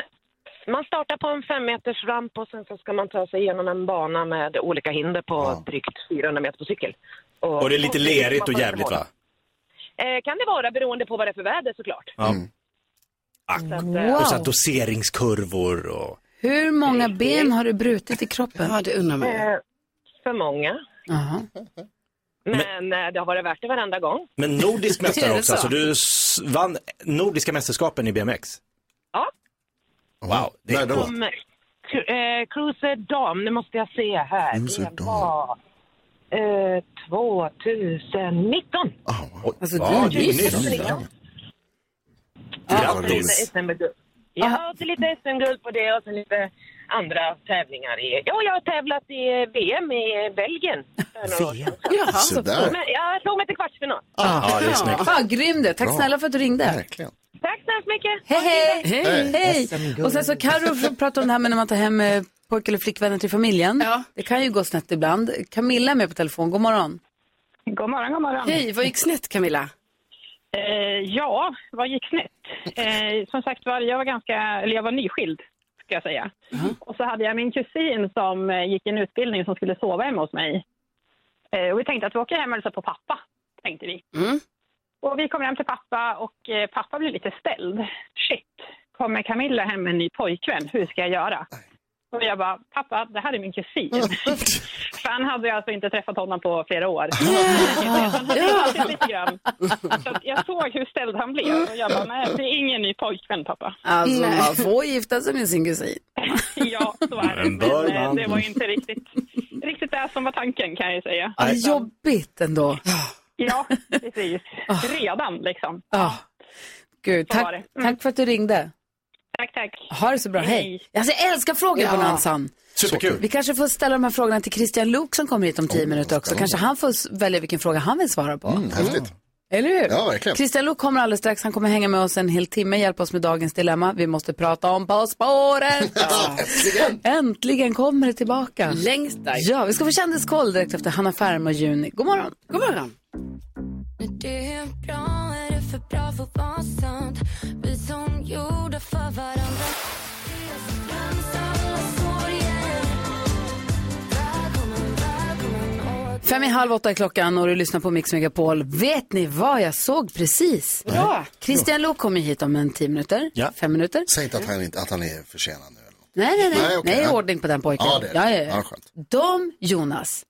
Speaker 14: man startar på en femmeters ramp och sen så ska man ta sig igenom en bana med olika hinder på drygt 400 meter på cykel.
Speaker 2: Och det är lite lerigt och jävligt, va?
Speaker 14: Eh, kan det vara beroende på vad det är för väder såklart.
Speaker 2: Ja.
Speaker 3: Mm.
Speaker 14: Så att, eh,
Speaker 2: Ah. Och så här doseringskurvor och...
Speaker 1: Hur många ben har du brutit i kroppen?
Speaker 4: Ja, det undrar
Speaker 14: Eh, för många.
Speaker 1: Jaha.
Speaker 14: Men, eh, det har varit värt det varenda gång.
Speaker 2: Men nordisk
Speaker 14: Är
Speaker 2: mästare
Speaker 14: det
Speaker 2: också, alltså
Speaker 14: så?
Speaker 2: du s- vann nordiska mästerskapen i BMX.
Speaker 14: Ja.
Speaker 2: Wow, det är coolt.
Speaker 14: Som, eh, Cruiser Dam, nu måste jag se här.
Speaker 2: Cruiser
Speaker 14: det var eh, 2019.
Speaker 1: Alltså,
Speaker 14: Ja,
Speaker 1: du är nyss.
Speaker 14: Ja, så lite SM-guld. Ja, så lite SM-guld på det och sen lite andra tävlingar. I, ja, jag har tävlat i VM i eh, Belgien. VM?
Speaker 1: Jaha,
Speaker 14: så
Speaker 1: Så där. Ah.
Speaker 14: men, jag tog mig till kvartsfinal.
Speaker 1: Ja,
Speaker 14: det är snyggt.
Speaker 1: Fan, grym det. Tack
Speaker 14: Bra.
Speaker 1: snälla för att du ringde.
Speaker 3: Verkligen.
Speaker 14: Tack så hemskt mycket.
Speaker 1: Hej, hej!
Speaker 14: Hej.
Speaker 1: Hej!
Speaker 14: SM-guld.
Speaker 1: Och sen så Carro pratar om det här med när man tar hem eh, pojk eller flickvänner till familjen. Det kan ju gå snett ibland. Camilla är med på telefon. God morgon.
Speaker 15: God morgon, god morgon.
Speaker 4: Hej, vad gick snett Camilla?
Speaker 15: Eh, ja, vad gick snett? Eh, som sagt var, jag var ganska, eller jag var nyskild, ska jag säga. Och så hade jag min kusin som eh, gick en utbildning som skulle sova hemma hos mig. Eh, och vi tänkte att vi åker hem och hälsar på pappa, tänkte vi.
Speaker 1: Mm.
Speaker 15: Och vi kom hem till pappa och eh, pappa blev lite ställd. Shit, kommer Camilla hem med en ny pojkvän? Hur ska jag göra? Och jag bara, pappa, det här är min kusin.
Speaker 1: Mm.
Speaker 15: För han hade ju alltså inte träffat honom på flera år. Han hade pratat lite grann. Så att jag såg hur ställd han blev och jag bara, nej, det är ingen ny pojkvän pappa.
Speaker 1: Alltså,
Speaker 15: Nej.
Speaker 1: man får gifta sig med sin kusin.
Speaker 15: Ja, så är det.
Speaker 1: Men bör
Speaker 15: Men eh,
Speaker 1: man?
Speaker 15: det var ju inte riktigt, riktigt det som var tanken kan jag ju säga.
Speaker 1: Det är jobbigt ändå.
Speaker 15: Ja, precis. Redan liksom.
Speaker 1: Ah, Gud,
Speaker 15: Så var
Speaker 1: tack,
Speaker 15: det. Mm.
Speaker 1: tack för att du ringde.
Speaker 15: Tack, tack.
Speaker 1: Ha det så bra, hej. Alltså, jag älskar frågor på Nansan. Vi kanske får ställa de här frågorna till Christian Luuk som kommer hit om tio minuter också. Kanske han får s- välja vilken fråga han vill svara på.
Speaker 3: Oh, Mm, häftigt.
Speaker 1: Eller hur?
Speaker 3: Ja, verkligen.
Speaker 1: Christian Luuk kommer alldeles strax. Han kommer hänga med oss en hel timme, hjälpa oss med dagens dilemma. Vi måste prata om På spåret. Äntligen! Äntligen kommer det tillbaka.
Speaker 4: Längtar.
Speaker 1: Ja, vi ska få kändiskoll direkt efter Hanna Färm och Juni. God morgon.
Speaker 4: God morgon.
Speaker 5: Det är bra, är det för bra för att vara sant? Vi som gjorde för varandra
Speaker 1: Fem i halv åtta är klockan och du lyssnar på Mix Megapol. Vet ni vad jag såg precis?
Speaker 3: Bra.
Speaker 1: Christian Luuk kommer hit om en tio minuter. Fem minuter.
Speaker 3: Säg inte att han, inte, att han är försenad nu.
Speaker 1: Nej, nej, nej.
Speaker 3: Nej,
Speaker 1: Nej,
Speaker 3: okej.
Speaker 1: det är ordning på den pojken.
Speaker 3: Ja, det är det.
Speaker 1: Ja, ja, ja.
Speaker 3: Ja, skönt.
Speaker 1: De, Jonas,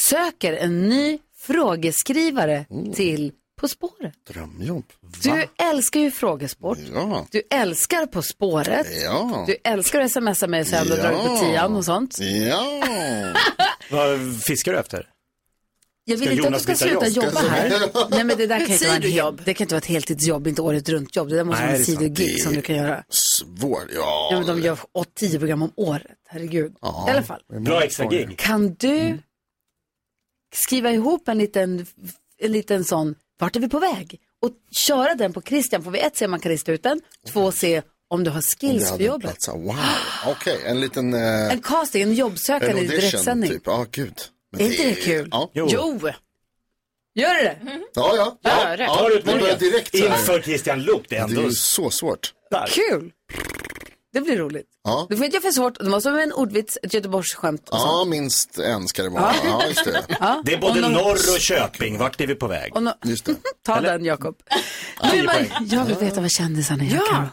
Speaker 1: söker en ny frågeskrivare
Speaker 3: Mm.
Speaker 1: till På spåret.
Speaker 3: Drömjobb.
Speaker 1: Du älskar ju frågesport.
Speaker 3: Ja.
Speaker 1: Du älskar På spåret.
Speaker 3: Ja.
Speaker 1: Du älskar att smsa mig sen och
Speaker 2: Ja.
Speaker 1: dra ut på tian och sånt.
Speaker 3: Ja.
Speaker 2: Vad fiskar du efter?
Speaker 1: Jag vill
Speaker 2: Ska
Speaker 1: inte att du
Speaker 2: Jonas
Speaker 1: ska
Speaker 2: byta
Speaker 1: sluta
Speaker 2: jobb?
Speaker 1: jobba
Speaker 2: Ska
Speaker 1: här.
Speaker 2: jag-
Speaker 1: Nej men det där kan inte vara, en
Speaker 4: Sidojobb.
Speaker 1: hel, det kan inte vara ett heltidsjobb, inte året runt jobb. Det där måste
Speaker 3: Nej,
Speaker 1: vara
Speaker 3: det
Speaker 1: en
Speaker 3: är sant.
Speaker 1: sidogig
Speaker 3: Det
Speaker 1: som du kan göra.
Speaker 3: Svår, ja.
Speaker 1: Ja, men de gör åt- tio program om året, herregud.
Speaker 3: Ja.
Speaker 1: I alla fall.
Speaker 2: Bra extra gig.
Speaker 1: Kan du skriva ihop en liten, en liten sån, vart är vi på väg? Och köra den på Christian, får vi ett se om man kan lista ut den, två se om du har
Speaker 3: Det
Speaker 1: skills för
Speaker 3: hade
Speaker 1: jobbet.
Speaker 3: platsat. Wow, okej. En liten... Eh,
Speaker 1: En casting, en jobbsökande i
Speaker 3: audition,
Speaker 1: direktsändning.
Speaker 3: Typ. Ja, gud. Men
Speaker 1: Är inte det kul?
Speaker 3: Ja.
Speaker 1: Gör det?
Speaker 2: Mm.
Speaker 3: Ja, ja. ja,
Speaker 1: Gör det.
Speaker 3: ja. Vi börjar direkt. så här.
Speaker 2: Inför Christian Luuk, det är
Speaker 3: Det
Speaker 2: ändå...
Speaker 3: är ju så svårt.
Speaker 1: Kul! Det blir roligt.
Speaker 3: Ja.
Speaker 1: Du får inte göra för svårt, det måste vara en ordvits, ett göteborgsskämt och
Speaker 3: Ja,
Speaker 1: sånt.
Speaker 3: minst en ska det vara.
Speaker 1: Ja.
Speaker 3: Ja, just det.
Speaker 1: Ja.
Speaker 2: Det är både
Speaker 1: Om de-
Speaker 2: norr och Köping. Vart är vi på väg?
Speaker 1: Om de-
Speaker 3: Just det.
Speaker 1: Ta den Jakob.
Speaker 2: Tio
Speaker 1: Du,
Speaker 2: poäng.
Speaker 1: men- Jag vill veta vad kändisarna är. Ja.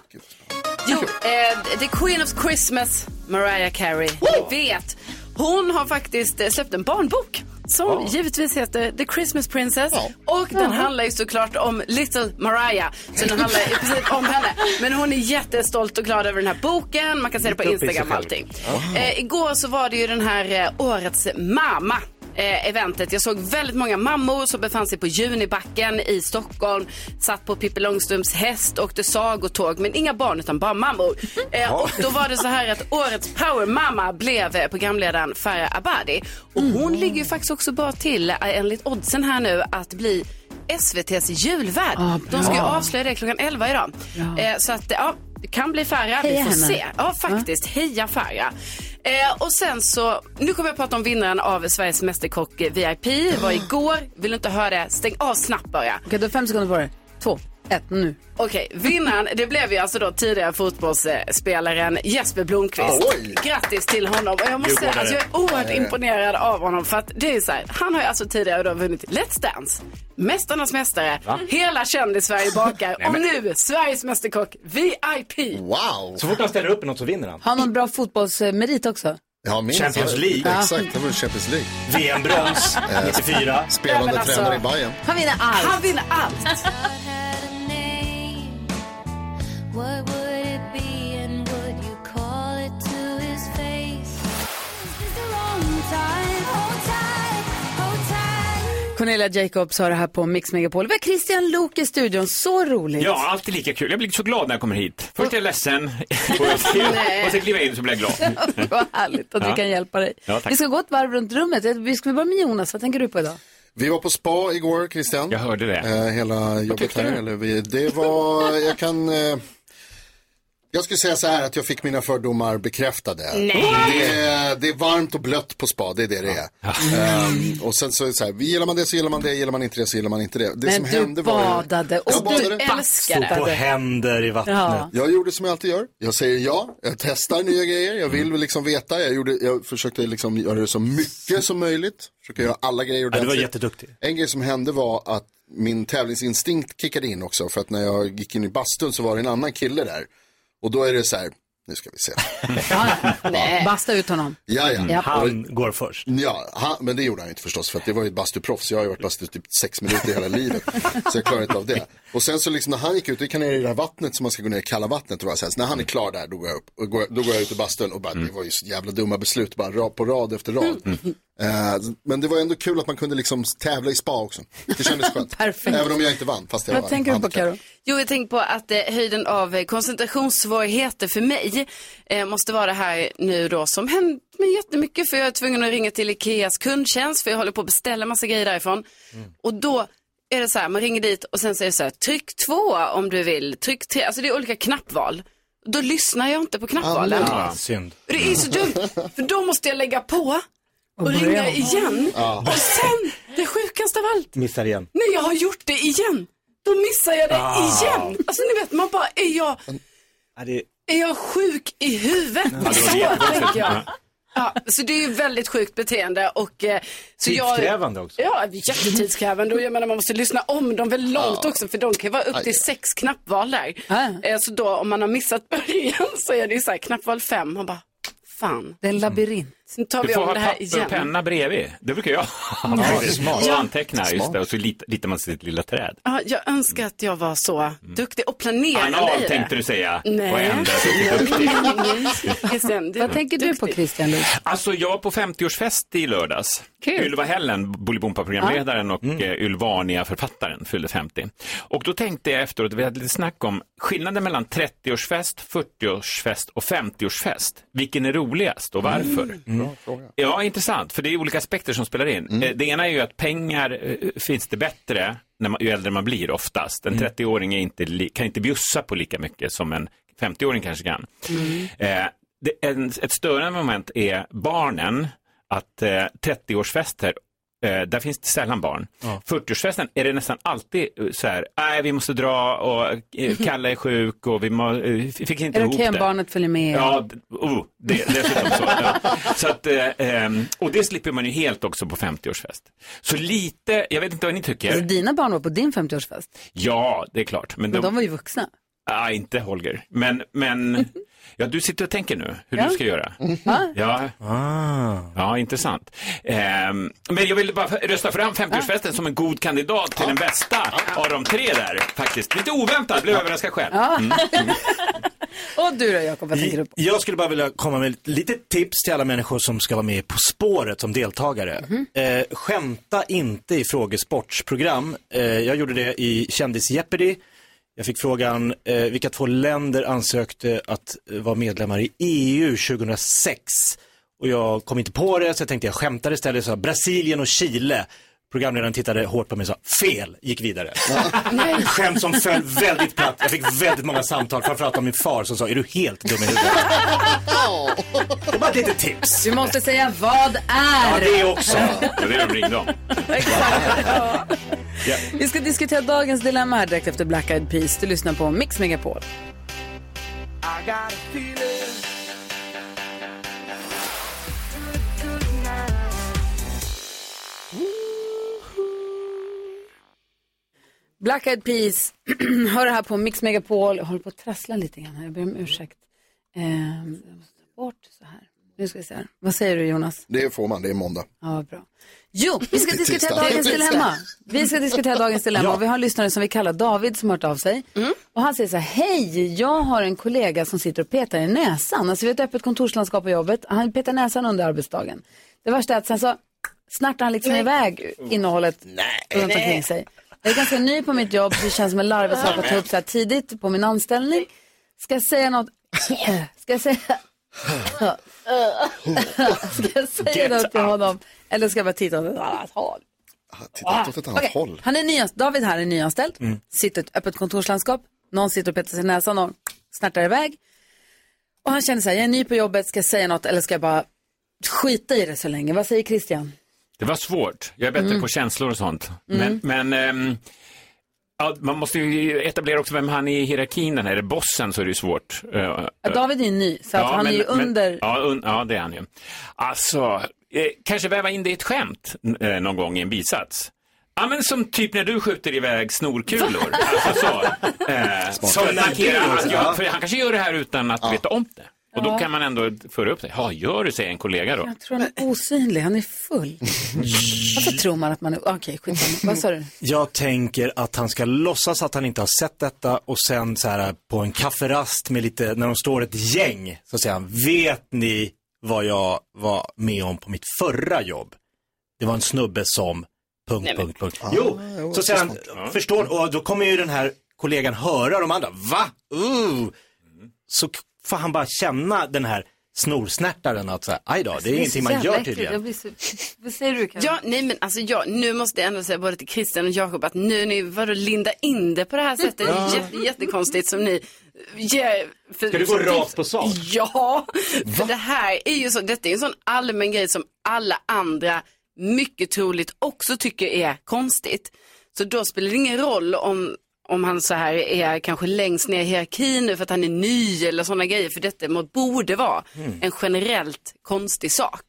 Speaker 4: Jo, eh, The Queen of Christmas, Mariah Carey. Ni vet. Hon har faktiskt eh, släppt en barnbok som givetvis heter The Christmas Princess. Och den handlar ju såklart om Little Mariah. Så den handlar i princip om henne. Men hon är jättestolt och glad över den här boken. Man kan se det på
Speaker 14: Mitt uppe i sig
Speaker 4: Instagram och
Speaker 14: själv.
Speaker 4: allting.
Speaker 14: Wow.
Speaker 4: Eh, igår så var det ju den här eh, årets mamma. eh, Eventet. Jag såg väldigt många mammor som befann sig på Junibacken i Stockholm. Satt på Pippi Långstrumps häst, åkte sagotåg. Men inga barn utan bara mammor. Eh, och då var det så här att årets powermamma blev eh, programledaren Farah Abadi. Och hon ligger ju faktiskt också bra till eh, enligt oddsen här nu att bli SVTs julvärd.
Speaker 1: Ah,
Speaker 4: De ska ju
Speaker 1: bra.
Speaker 4: avslöja det klockan 11 idag.
Speaker 1: Bra.
Speaker 4: Eh, så att eh, ja, det kan bli Farah. Vi
Speaker 1: Heja
Speaker 4: får
Speaker 1: henne.
Speaker 4: se. Ja, faktiskt. Heja Farah. Eh, och sen så, nu kommer jag prata om vinnaren av Sveriges Mästerkock eh, VIP. Det var igår. Vill du inte höra det? Stäng av snabbt bara.
Speaker 1: Okej, du har fem sekunder på dig. Två, ett, nu.
Speaker 4: Okej, vinnaren det blev ju alltså då tidigare fotbollsspelaren Jesper Blomqvist.
Speaker 1: Oj.
Speaker 4: Grattis till honom. Och jag måste säga att jag är oerhört
Speaker 1: Eh.
Speaker 4: imponerad av honom för att det är så här, han har ju alltså tidigare då vunnit Let's Dance, Mästarnas Mästare,
Speaker 2: Va?
Speaker 4: Hela Kändis-Sverige bakar
Speaker 2: Nej,
Speaker 4: och
Speaker 2: men-
Speaker 4: nu Sveriges Mästerkock VIP.
Speaker 3: Wow!
Speaker 2: Så fort han ställer upp i något så vinner han.
Speaker 1: Har någon bra fotbollsmerit också?
Speaker 3: Ja, minst.
Speaker 2: Champions League.
Speaker 1: Ja.
Speaker 3: Exakt, det var Champions League.
Speaker 2: VM-brons,
Speaker 3: Eh,
Speaker 2: 94.
Speaker 3: Spelande
Speaker 4: Nej, men alltså-
Speaker 3: tränare i Bayern.
Speaker 1: Han vinner allt.
Speaker 4: Han vinner allt.
Speaker 5: What would it be and would you call it to his face? It's the wrong time. Hold tight, hold tight.
Speaker 1: Cornelia Jacobs har det här på Mix Megapol. Vi har Christian Luuk i studion, så roligt.
Speaker 16: Ja, alltid lika kul. Jag blir så glad när jag kommer hit. Först är jag ledsen
Speaker 1: Nej.
Speaker 16: och sen kliver jag in så blir jag glad.
Speaker 1: Vad härligt att vi
Speaker 16: Ja.
Speaker 1: kan hjälpa dig.
Speaker 16: Ja, tack.
Speaker 1: vi ska gå ett varv runt rummet. Vi ska börja med Jonas, vad tänker du på idag?
Speaker 3: Vi var på spa igår, Christian. Jag
Speaker 16: hörde det.
Speaker 3: hela jobbet
Speaker 16: tyckte
Speaker 3: här.
Speaker 16: du?
Speaker 3: Eller vi, det var, jag kan... Eh, jag skulle säga så här att jag fick mina fördomar bekräftade.
Speaker 16: Nej.
Speaker 3: Det, är- det är varmt och blött på spa, det är det det är. Ehm, och sen så är det så här, gillar man det så gillar man det, gillar man inte det så gillar man inte det. Det
Speaker 1: Men
Speaker 3: som
Speaker 1: du
Speaker 3: hände var ju-
Speaker 1: badade och
Speaker 3: Jag
Speaker 1: du
Speaker 3: badade.
Speaker 1: älskade.
Speaker 2: Stod på händer i vattnet.
Speaker 1: Ja.
Speaker 3: Jag gjorde som jag alltid gör. Jag säger ja, jag testar nya grejer, jag
Speaker 2: Mm.
Speaker 3: vill liksom veta. Jag, gjorde, jag försökte liksom göra det så mycket som möjligt. Försöka göra alla grejer
Speaker 2: Ja, du var
Speaker 3: ordentligt.
Speaker 2: jätteduktig.
Speaker 3: En grej som hände var att min tävlingsinstinkt kickade in också. För att när jag gick in i bastun så var det en annan kille där. Och då är det så här, nu ska vi se.
Speaker 1: Basta ut honom.
Speaker 3: Ja, ja.
Speaker 1: Ja.
Speaker 2: Mm. Han går först.
Speaker 3: Ja, han, men det gjorde han ju inte förstås för att det var ju ett bastuproffs. Jag har ju varit bastu typ sex minuter hela livet. Så jag klarar inte av det. Och sen så liksom när han gick ut, det kan jag i det där vattnet som man ska gå ner i kalla vattnet och bara så här, så när han är klar där då går jag upp, och går, då går jag ut i bastun och bara
Speaker 2: Mm.
Speaker 3: det var ju så jävla dumma beslut bara rad på rad efter rad. Eh, men det var ju ändå kul att man kunde liksom tävla i spa också. Det kändes skönt.
Speaker 1: Perfekt.
Speaker 3: Även om jag inte vann fast jag
Speaker 1: Vad
Speaker 3: var
Speaker 1: tänker du på
Speaker 3: handikappad.
Speaker 1: Karo?
Speaker 4: Jo, jag tänker på att eh, höjden av eh, koncentrationssvårigheter för mig eh, måste vara det här nu då som hänt mig jättemycket för jag är tvungen att ringa till Ikeas kundtjänst för jag håller på att beställa massa grejer därifrån. Och då är det så här, man ringer dit och sen säger det så här, tryck två om du vill, tryck tre, alltså det är olika knappval. Då lyssnar jag inte på knappvalen.
Speaker 2: Ah, synd.
Speaker 4: Och Det är så dumt, för då måste jag lägga på och,
Speaker 2: Och börja
Speaker 4: ringa
Speaker 2: om.
Speaker 4: igen.
Speaker 2: Ja.
Speaker 4: Och sen, det sjukaste av allt,
Speaker 2: Missar igen.
Speaker 4: när jag har gjort det igen, då missar jag det
Speaker 2: Ah.
Speaker 4: igen. Alltså ni vet, man bara, är jag,
Speaker 2: Ja, det...
Speaker 4: är jag sjuk i huvudet?
Speaker 2: Ja, det var
Speaker 4: Så
Speaker 2: jättekonstigt.
Speaker 4: tänker jag.
Speaker 2: Ja.
Speaker 4: Ja, så det är ju väldigt sjukt beteende och... eh, Så jag-
Speaker 2: Tidskrävande också.
Speaker 4: Ja, jättetidskrävande och jag menar man måste lyssna om dem väldigt långt
Speaker 2: Ja.
Speaker 4: också för de kan ju vara upp
Speaker 2: Aj.
Speaker 4: till sex knappval där. Eh, Så då om man har missat början så är det ju så här knappval fem, man bara fan.
Speaker 1: Det är en labyrint.
Speaker 4: Sen tar
Speaker 16: Du
Speaker 4: vi
Speaker 16: får
Speaker 4: om
Speaker 16: ha
Speaker 4: det här
Speaker 16: papper
Speaker 4: igen.
Speaker 16: och penna bredvid. Det brukar jag ha.
Speaker 4: Ja,
Speaker 16: faktiskt.
Speaker 4: smart.
Speaker 16: och anteckna, just
Speaker 4: Smart.
Speaker 16: det. Och så lit- litar man sitt lilla träd.
Speaker 4: Ja, jag önskar att jag var så
Speaker 2: Mm.
Speaker 4: duktig och planerande
Speaker 16: Anal
Speaker 4: i det.
Speaker 16: tänkte du säga.
Speaker 4: Nej.
Speaker 16: Och ändå så duktig.
Speaker 4: Christian,
Speaker 1: Vad tänker du på Christian? Luuk?
Speaker 16: Alltså jag var på 50-årsfest i lördags.
Speaker 1: Kul.
Speaker 16: Ylva Hällen, Bolibompa-programledaren och mm. Ylvania-författaren fyllde 50. Och då tänkte jag efteråt, vi hade lite snack om skillnaden mellan 30-årsfest, 40-årsfest och 50-årsfest. Vilken är roligast och varför?
Speaker 4: Mm.
Speaker 1: Mm.
Speaker 3: Bra fråga.
Speaker 16: Ja, intressant, för det är olika aspekter som spelar in. Eh, Det ena är ju att pengar eh, finns det bättre när man, ju äldre man blir oftast. En 30-åring är inte, li- kan inte bjussa på lika mycket som en 50-åring kanske kan.
Speaker 17: Mm.
Speaker 16: Eh, det, en, ett störande moment är barnen, att eh, 30-årsfester, eh, där finns det sällan barn. 40-årsfesten är det nästan alltid eh, så här, nej vi måste dra och eh, Kalle är sjuk och vi må, eh, fick inte
Speaker 1: Är det
Speaker 16: ihop
Speaker 1: okej om
Speaker 16: det.
Speaker 1: barnet följer med?
Speaker 16: Ja, d- oh, det, dessutom så. Ja. så att, eh, ehm, och det slipper man ju helt också på 50-årsfest. Så lite, jag vet inte vad ni
Speaker 1: Alltså,
Speaker 16: tycker.
Speaker 1: dina barn var på din 50-årsfest,
Speaker 16: Ja, det är klart. Men
Speaker 1: men
Speaker 16: de,
Speaker 1: de var ju vuxna.
Speaker 16: ah, inte Holger. Men, men ja, du sitter och tänker nu hur
Speaker 1: Ja.
Speaker 16: du ska göra.
Speaker 1: Va?
Speaker 16: Ja, ja intressant. Ehm, men jag ville bara f- rösta fram 50-årsfesten som en god kandidat till den bästa av de tre där. Faktiskt. Lite oväntat, blev överraskad själv.
Speaker 1: Ja.
Speaker 16: Mm.
Speaker 1: Och du då Jakob, vad tänker du på?
Speaker 2: Jag skulle bara vilja komma med ett litet tips till alla människor som ska vara med På spåret som deltagare.
Speaker 1: Mhm.
Speaker 2: Eh, skämta inte i frågesportsprogram. Eh, jag gjorde det i Kändis Jeopardy. Jag fick frågan eh, vilka två länder ansökte att eh, vara medlemmar i EU 2006. Och jag kom inte på det så jag tänkte jag skämtade istället. Så Brasilien och Chile. Programledaren tittade hårt på mig och sa fel, gick vidare. Skämt som föll väldigt platt. Jag fick väldigt många samtal, framförallt av min far som sa, är du helt dum i huvudet? Det var ett litet tips.
Speaker 1: Du måste säga vad är.
Speaker 2: Ja, det också.
Speaker 16: Det är det de ringde om.
Speaker 1: Vi ska diskutera dagens dilemma här direkt efter Black Eyed Peas. Du lyssnar på Mix Megapol. Black Eyed Peas, hör det här på Mix Megapol. Jag håller på att trassla lite grann här, jag ber om ursäkt. Ehm, jag måste ta bort så här. Nu ska vi se här. Vad säger du Jonas?
Speaker 3: Det får man, det är måndag.
Speaker 1: Ja, bra. Jo, vi ska
Speaker 3: Det är
Speaker 1: diskutera
Speaker 3: tisdag.
Speaker 1: dagens
Speaker 3: Det är tisdag.
Speaker 1: dilemma. Vi ska diskutera dagens dilemma.
Speaker 3: Ja.
Speaker 1: Och Vi har en lyssnare som vi kallar David som har hört av sig.
Speaker 3: Mm.
Speaker 1: Och han säger så här, hej, jag har en kollega som sitter och petar i näsan. Alltså vi har ett öppet kontorslandskap på jobbet. Han petar näsan under arbetsdagen. Det värsta är att sen så snärtar han liksom iväg innehållet runt omkring
Speaker 5: Mm. Nej.
Speaker 1: sig. Jag är ganska ny på mitt jobb, så det känns som en larv som jag ta upp så här tidigt på min anställning. Ska jag säga något? Ska jag säga? Ska jag säga
Speaker 5: Get
Speaker 1: något till honom? Eller ska jag bara titta åt ett annat håll?
Speaker 5: Titta åt ett annat
Speaker 1: Ah. Okej,
Speaker 5: håll.
Speaker 1: Han är nyans- David här är nyanställd,
Speaker 3: Mm.
Speaker 1: sitter i ett öppet kontorslandskap, någon sitter och petar sig i näsan och snärtar iväg. Och han känner så här, jag är ny på jobbet, ska jag säga något eller ska jag bara skita i det så länge? Vad säger Christian?
Speaker 16: Det var svårt. Jag är bättre på känslor och sånt.
Speaker 1: Mm.
Speaker 16: Men, men ehm, ja, man måste ju etablera också vem han är i hierarkin. Den här. Är det bossen så är det ju svårt. Eh,
Speaker 1: Ja,
Speaker 16: eh,
Speaker 1: David är ju ny, så att han är ju under...
Speaker 16: ja, un, ja, det är han ju. Alltså, eh, kanske väva in det i ett skämt eh, någon gång i en bisats. Ja, men som typ när du skjuter iväg snorkulor. alltså så. Eh,
Speaker 2: Smart.
Speaker 16: för att markera
Speaker 2: Snorkulor också,
Speaker 16: att jag,
Speaker 2: ja.
Speaker 16: för han kanske gör det här utan att veta om det. Och
Speaker 1: Ja.
Speaker 16: då kan man ändå föra upp det. Ja, gör du, säger en kollega då.
Speaker 1: Jag tror han är osynlig, han är full. Varför tror man att man är... Okej, skitsamma. Vad sa du?
Speaker 2: Jag tänker att han ska låtsas att han inte har sett detta och sen så här på en kafferast med lite, när de står ett gäng, så säger han, vet ni vad jag var med om på mitt förra jobb? Det var en snubbe som, punkt, punkt, punkt. jo,
Speaker 3: jo,
Speaker 2: så
Speaker 3: det
Speaker 2: säger
Speaker 3: är
Speaker 2: han, förstår, och då kommer ju den här kollegan höra de andra, va? Uh! Så k- får han bara känna den här snorsnärtaren att säga, aj då, det är ingenting man gör tydligen.
Speaker 1: Vad säger du
Speaker 4: Ja, nej men alltså jag, nu måste jag ändå säga både till Christian och Jakob att nu ni, vadå linda in det på det här sättet?
Speaker 2: Ja.
Speaker 4: Jätte, jättekonstigt som ni ger. för-
Speaker 2: Ska du gå
Speaker 4: som tips.
Speaker 2: rakt på sak?
Speaker 4: Ja, för det här är ju så, detta är en sån allmän grej som alla andra mycket troligt också tycker är konstigt. Så då spelar det ingen roll om, om han så här är kanske längst ner i hierarkin nu för att han är ny eller sådana grejer, för detta må- borde vara
Speaker 1: Mm.
Speaker 4: en generellt konstig sak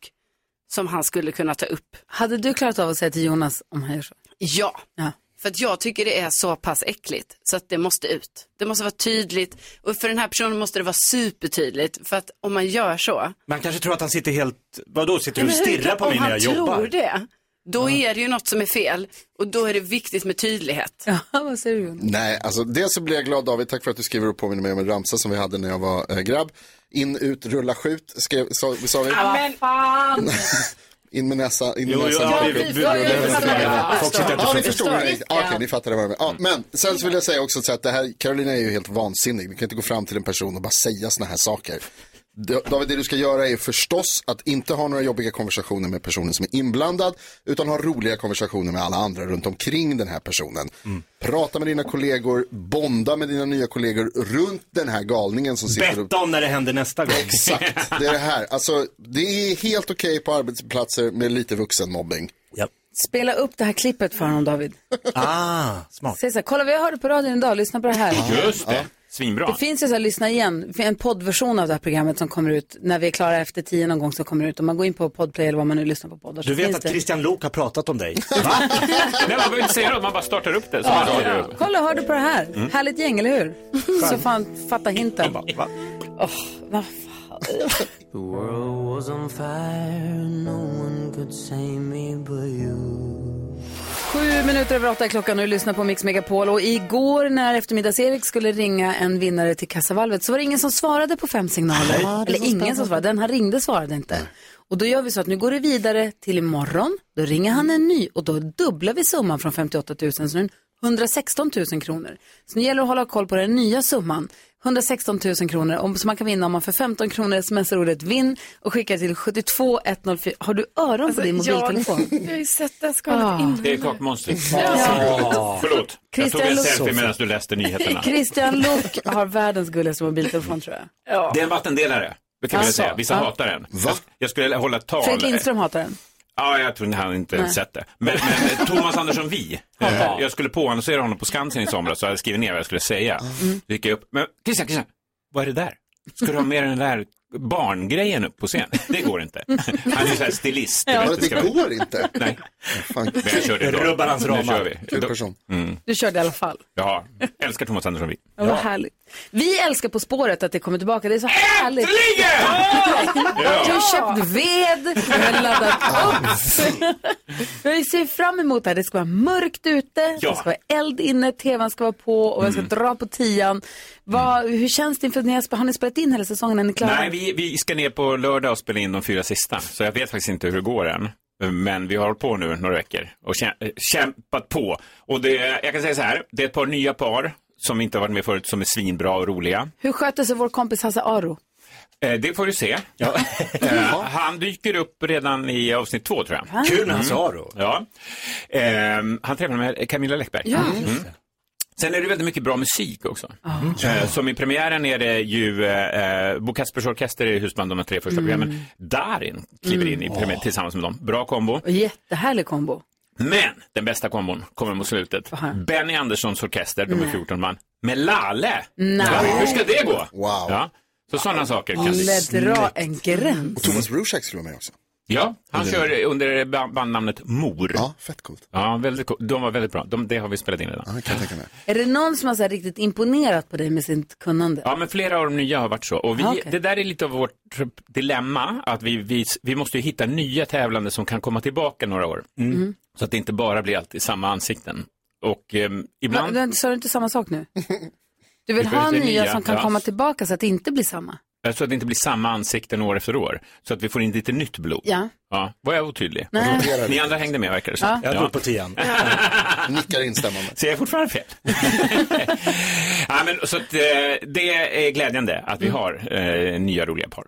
Speaker 4: som han skulle kunna ta upp.
Speaker 1: Hade du klarat av att säga till Jonas om han gör så?
Speaker 4: Ja.
Speaker 1: Ja.
Speaker 4: För att jag tycker det är så pass äckligt så att det måste ut. Det måste vara tydligt och för den här personen måste det vara supertydligt för att om man gör så.
Speaker 2: Man kanske tror att han sitter helt, vadå, sitter du och
Speaker 4: Men hur
Speaker 2: stirrar
Speaker 4: kan-
Speaker 2: på mig när jag
Speaker 4: Om han
Speaker 2: jobbar?
Speaker 4: tror det, då är det ju något som är fel och då är det viktigt med tydlighet.
Speaker 1: Ja, vad säger du Jonas?
Speaker 3: Nej, alltså dels så blir jag glad David, tack för att du skriver och påminner mig om en ramsa som vi hade när jag var eh, grabb. In, ut, rulla, skjut, skrev, sa, sa vi.
Speaker 5: men fan!
Speaker 3: In med näsa, in med
Speaker 5: Jo, jo,
Speaker 3: näsan.
Speaker 5: ja,
Speaker 3: rulla,
Speaker 5: vi-
Speaker 3: skjut,
Speaker 5: vi-
Speaker 3: rulla,
Speaker 5: vi- vi-
Speaker 3: rulla,
Speaker 5: vi-
Speaker 3: rulla,
Speaker 5: vi-
Speaker 3: rulla.
Speaker 5: vi- förstår.
Speaker 3: Ja, ni
Speaker 5: vi
Speaker 3: förstod.
Speaker 5: förstår.
Speaker 3: vad jag- ja, Okej, ni fattar vad jag menar. Ja, men sen så vill jag säga också så att det här, Carolina är ju helt vansinnig. Du kan inte gå fram till en person och bara säga såna här saker. D- David, det du ska göra är förstås att inte ha några jobbiga konversationer med personen som är inblandad, utan ha roliga konversationer med alla andra runt omkring den här personen. Prata med dina kollegor, bonda med dina nya kollegor runt den här galningen som sitter och
Speaker 2: Betta om när det händer nästa gång.
Speaker 3: Exakt, det är det här. Alltså, det är helt okej på arbetsplatser med lite vuxenmobbing.
Speaker 2: Yep.
Speaker 1: Spela upp det här klippet för honom David.
Speaker 2: Ah, smart.
Speaker 1: Säg så här, kolla vad jag hörde på radion idag, lyssna på det här.
Speaker 16: Just det, svinbra.
Speaker 1: Det finns ju så här, lyssna igen, en poddversion av det här programmet som kommer ut när vi är klara efter tio någon gång så kommer det ut. Om man går in på podplay eller vad man nu lyssnar på poddar så
Speaker 2: Du vet
Speaker 1: finns
Speaker 2: att
Speaker 1: det.
Speaker 2: Christian Lok har pratat om dig.
Speaker 16: Nej, man behöver inte säga något, man bara startar upp det. Så
Speaker 1: Ja.
Speaker 16: man startar upp.
Speaker 1: Kolla, hör du på det här?
Speaker 16: Mm.
Speaker 1: Härligt gäng, eller hur? Så fan, fatta hinten. Åh, vad fan.
Speaker 5: The world was on fire, no one could save me but you.
Speaker 1: Sju minuter över åtta är klockan och du lyssnar på Mix Megapol. Och igår när eftermiddags-Erik skulle ringa en vinnare till kassavalvet så var det ingen som svarade på fem signaler.
Speaker 5: Ja, det är
Speaker 1: Eller
Speaker 5: så
Speaker 1: ingen
Speaker 5: spännande.
Speaker 1: som svarade, den han ringde svarade inte. Och då gör vi så att nu går det vidare till imorgon, då ringer han en ny och då dubblar vi summan från 58 000 så nu är den 116 000 kronor. Så nu gäller det att hålla koll på den nya summan, 116 000 kronor, om, som man kan vinna om man för 15 kronor smsar ordet vinn och skickar till 72104. Har du öron
Speaker 5: Alltså,
Speaker 1: på din mobiltelefon?
Speaker 4: Alltså, Jag, jag har ju sett det här skalet innan.
Speaker 16: Det är kakmonstret.
Speaker 1: Ja.
Speaker 16: Förlåt, jag tog
Speaker 1: Christian
Speaker 16: en
Speaker 1: Lok-
Speaker 16: selfie medan du läste nyheterna.
Speaker 1: Christian Lok har världens gulligaste mobiltelefon tror jag.
Speaker 16: Det är en vattendelare. Det kan
Speaker 1: Alltså,
Speaker 16: jag säga. Vissa
Speaker 1: ja.
Speaker 16: hatar den. Jag, jag skulle hålla ett tal.
Speaker 1: Fredrik Lindström hatar den.
Speaker 16: Ja, jag tror han inte
Speaker 1: Nej.
Speaker 16: ens sett det. Men, men Thomas Andersson Vi. eh, Jag skulle påannonsera honom på Skansen i somras så jag hade skrivit ner vad jag skulle säga. Då gick jag upp. Men Christian, Christian, vad är det där? Ska du ha med den där barngrejen upp på scen? Det går inte. Han är ju så här stilist.
Speaker 3: Ja.
Speaker 16: vet
Speaker 3: Men det
Speaker 16: ska-
Speaker 3: går inte.
Speaker 16: Nej.
Speaker 3: Fan.
Speaker 16: Men jag körde idag.
Speaker 2: Rubbar hans
Speaker 16: Nu
Speaker 2: ramar.
Speaker 16: kör vi.
Speaker 3: Kul
Speaker 16: Då-
Speaker 3: person.
Speaker 16: Mm.
Speaker 1: Du körde i alla fall.
Speaker 16: Ja, älskar Thomas Andersson Vi.
Speaker 1: Ja, vad härligt. Vi älskar På spåret att det kommer tillbaka. Det är så härligt.
Speaker 5: Äntligen!
Speaker 1: Vi har köpt ved, vi har laddat upp. Vi ser fram emot det här. Det ska vara mörkt ute,
Speaker 5: Ja.
Speaker 1: det ska vara eld inne, tvn ska vara på och jag ska dra på tian. Vad, hur känns det inför att ni har, sp- har ni spelat in hela säsongen? Är ni klara?
Speaker 16: Nej, vi, vi ska ner på lördag och spela in de fyra sista. Så jag vet faktiskt inte hur det går än. Men vi har hållit på nu några veckor och kä- eh, kämpat på. Och det, jag kan säga så här, det är ett par nya par som inte har varit med förut som är svinbra och roliga.
Speaker 1: Hur sköter sig vår kompis Hasse Aro?
Speaker 16: Eh, det får du se. Eh, han dyker upp redan i avsnitt två tror
Speaker 1: Va?
Speaker 16: jag.
Speaker 1: Kul när han sa
Speaker 16: då. Ja. Ehm, han träffade med Camilla Läckberg.
Speaker 1: Ja.
Speaker 16: Mm. Sen är det väldigt mycket bra musik också.
Speaker 1: Mm.
Speaker 16: Eh, Som i premiären är det ju eh, eh, Bo Kaspers Orkester är husband de här tre första
Speaker 1: Mm.
Speaker 16: programmen. Darin kliver in i
Speaker 1: Mm.
Speaker 16: premiär, tillsammans med dem. Bra kombo.
Speaker 1: Jättehärlig kombo.
Speaker 16: Men den bästa kombon kommer mot slutet. Benny Anderssons orkester, de är
Speaker 1: Nej.
Speaker 16: 14 man, med Lalle.
Speaker 1: Nej.
Speaker 16: Ja, hur ska det gå?
Speaker 3: Wow.
Speaker 16: Ja. Så sådana saker kan
Speaker 1: Ville dra en gräns.
Speaker 3: Och Thomas Rushak skulle vara med också.
Speaker 16: Ja, han
Speaker 3: Eller-
Speaker 16: kör under ba- bandnamnet Mor. Ja,
Speaker 3: fett coolt.
Speaker 16: Ja, väldigt coolt. De var väldigt bra. De, det har vi spelat in redan. Ja,
Speaker 3: kan tänka mig.
Speaker 1: Är det någon som har så här riktigt imponerat på dig med sitt kunnande?
Speaker 16: Ja, men flera av de nya har varit så. Och vi,
Speaker 1: Ah, okej.
Speaker 16: Det där är lite av vårt dilemma, att vi, vi, vi måste ju hitta nya tävlande som kan komma tillbaka några år.
Speaker 1: Mm.
Speaker 16: Så att det inte bara blir alltid samma ansikten. Och ehm, ibland...
Speaker 1: Va, sa du inte samma sak nu? Du vill
Speaker 16: Vi
Speaker 1: ha
Speaker 16: behöver
Speaker 1: nya,
Speaker 16: inte nya,
Speaker 1: som kan
Speaker 16: ja.
Speaker 1: komma tillbaka så att det inte blir samma?
Speaker 16: Så att det inte blir samma ansikten år efter år. Så att vi får in lite nytt blod.
Speaker 1: Ja.
Speaker 16: Ja, var jag otydlig?
Speaker 1: Nej.
Speaker 16: Ni andra hängde med verkar det som.
Speaker 1: Ja. Jag drog
Speaker 16: på tian.
Speaker 3: Nickar instämmande.
Speaker 16: Ser jag fortfarande fel?
Speaker 1: Mm.
Speaker 16: ja, men, så att, eh, det är glädjande att vi har eh, nya roliga par.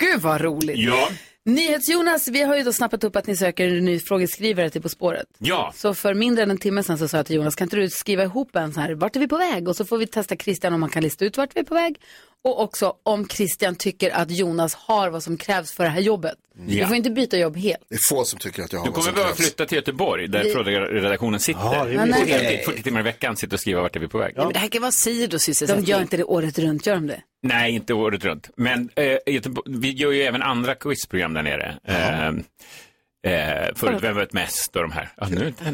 Speaker 1: Gud vad roligt.
Speaker 16: Ja.
Speaker 1: NyhetsJonas, vi har ju då snappat upp att ni söker en ny frågeskrivare till På spåret.
Speaker 16: Ja.
Speaker 1: Så för mindre än en timme sedan så sa jag till Jonas, kan inte du skriva ihop en så här, vart är vi på väg? Och så får vi testa Christian om han kan lista ut vart vi är på väg. Och också om Christian tycker att Jonas har vad som krävs för det här jobbet. Du
Speaker 16: Ja.
Speaker 1: får inte byta jobb helt.
Speaker 3: Det är få som tycker att jag har
Speaker 16: Du
Speaker 3: vad
Speaker 16: kommer
Speaker 3: som
Speaker 16: behöva
Speaker 3: krävs.
Speaker 16: flytta till Göteborg där
Speaker 1: Vi-
Speaker 16: frågeredaktionen sitter. Ja,
Speaker 1: är Men viktigt. nej.
Speaker 16: 40 timmar i veckan sitter och skriver vart är vi på väg.
Speaker 1: men det här kan vara sidosysselsättning. De gör inte det året runt, gör de det?
Speaker 16: Nej, inte året runt. Men eh, Göteborg, vi gör ju även andra quizprogram där nere. Eh, eh, förut, Vem vet mest och de här. Ja, nu
Speaker 1: Ja,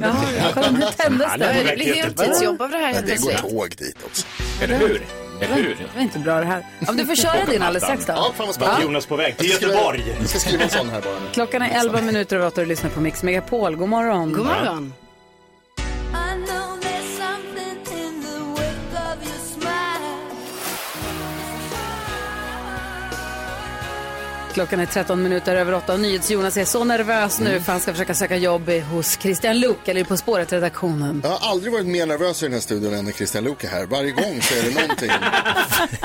Speaker 1: kolla nu tändes
Speaker 16: Ja,
Speaker 1: det.
Speaker 16: det blir heltidsjobb
Speaker 1: av det här.
Speaker 3: Men det går tåg dit också.
Speaker 16: Eller hur? Eller hur?
Speaker 1: Det var inte bra det här. Ja, men du får köra din alldeles strax då.
Speaker 2: Jonas på väg till
Speaker 3: Jag ska skriva-
Speaker 2: Göteborg.
Speaker 3: Jag ska skriva en sån här bara nu.
Speaker 1: Klockan är 11 minuter över 8 och du lyssnar på Mix Megapol. God morgon.
Speaker 3: God morgon.
Speaker 5: I know there's something in the wake of your smile.
Speaker 1: Klockan är 13 minuter över 8 och NyhetsJonas är så nervös
Speaker 3: Mm.
Speaker 1: nu för han ska försöka söka jobb i- hos Christian Luuk eller På spåret-redaktionen.
Speaker 3: Jag har aldrig varit mer nervös i den här studion än när Christian Luuk är här. Varje gång så är det någonting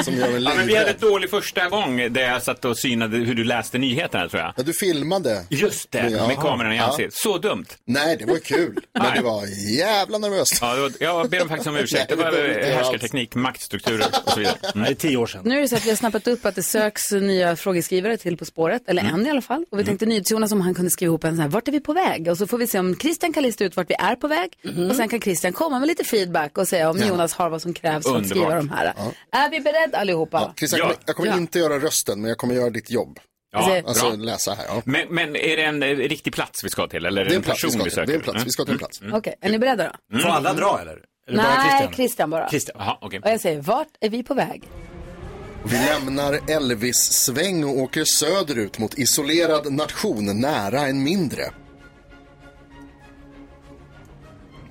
Speaker 3: som gör mig
Speaker 16: Ja, men vi hade
Speaker 3: livrädd.
Speaker 16: ett dålig första gång där jag satt och synade hur du läste nyheterna tror jag.
Speaker 3: Ja, du filmade.
Speaker 16: Just det,
Speaker 3: Ja.
Speaker 16: med kameran i
Speaker 3: Ja.
Speaker 16: ansiktet. Så dumt.
Speaker 3: Nej, det var kul. Men det var jävla nervöst.
Speaker 16: Ja, det var, jag ber om faktiskt om ursäkt. Det
Speaker 3: Nej,
Speaker 16: var
Speaker 3: det behöver inte jag
Speaker 16: härskarteknik, maktstrukturer och så vidare. Mm.
Speaker 2: Det är tio år sedan.
Speaker 1: Nu är det så att vi har snappat upp att det söks nya frågeskrivare till På spåret, eller
Speaker 3: Mm.
Speaker 1: en i alla fall. Och vi tänkte NyhetsJonas om han kunde skriva ihop en sån här, vart är vi på väg? Och så får vi se om Christian kan lista ut vart vi är på väg. Och sen kan Christian komma med lite feedback och säga om
Speaker 3: Mm. Ja.
Speaker 1: Jonas har vad som krävs för att
Speaker 3: Underbart.
Speaker 1: skriva de här. Är vi beredda allihopa?
Speaker 3: Christian, jag kommer, jag kommer inte göra rösten, men jag kommer göra ditt jobb.
Speaker 16: Ja,
Speaker 3: alltså
Speaker 16: bra.
Speaker 3: läsa här. Ja.
Speaker 16: Men, men är det en eh, riktig plats vi ska till eller är det,
Speaker 3: Det är
Speaker 16: en
Speaker 3: en plats vi
Speaker 16: person
Speaker 3: ska
Speaker 16: vi
Speaker 3: till.
Speaker 16: söker? Mm.
Speaker 3: Det är en plats. Vi ska till en plats.
Speaker 1: Okej, är ni beredda då?
Speaker 2: Får alla dra eller?
Speaker 1: Nej, Christian? bara.
Speaker 16: Jaha, okej.
Speaker 1: Och jag säger, vart är vi på väg?
Speaker 3: Vi lämnar Elvis-sväng och åker söderut mot isolerad nation nära en mindre.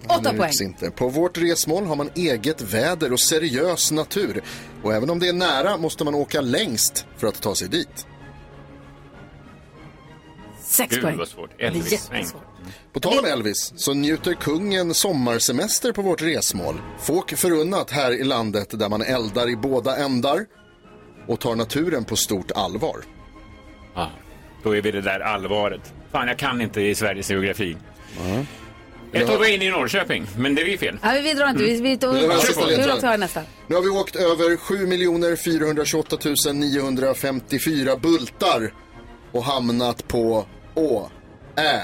Speaker 1: Åtta
Speaker 3: Det
Speaker 1: poäng.
Speaker 3: rycks Inte. På vårt resmål har man eget väder och seriös natur. Och även om det är nära måste man åka längst för att ta sig dit.
Speaker 1: Sex
Speaker 16: Gud,
Speaker 1: poäng.
Speaker 16: vad svårt. Elvis.
Speaker 3: På tal om Elvis så njuter kungen sommarsemester på vårt resmål. Folk förunnat här i landet där man eldar i båda ändar och tar naturen på stort allvar.
Speaker 16: Ja, Ah, då är vi det där allvaret. Fan, jag kan inte i Sveriges geografi. Jag tog in i Norrköping, men det är ju fel.
Speaker 1: Nej, men vi drar inte. Vi, vi, vi,
Speaker 3: var den sista ledtråden.
Speaker 1: tar nästa.
Speaker 3: Nu har vi åkt över 7 428 954 bultar och hamnat på Å, Ä.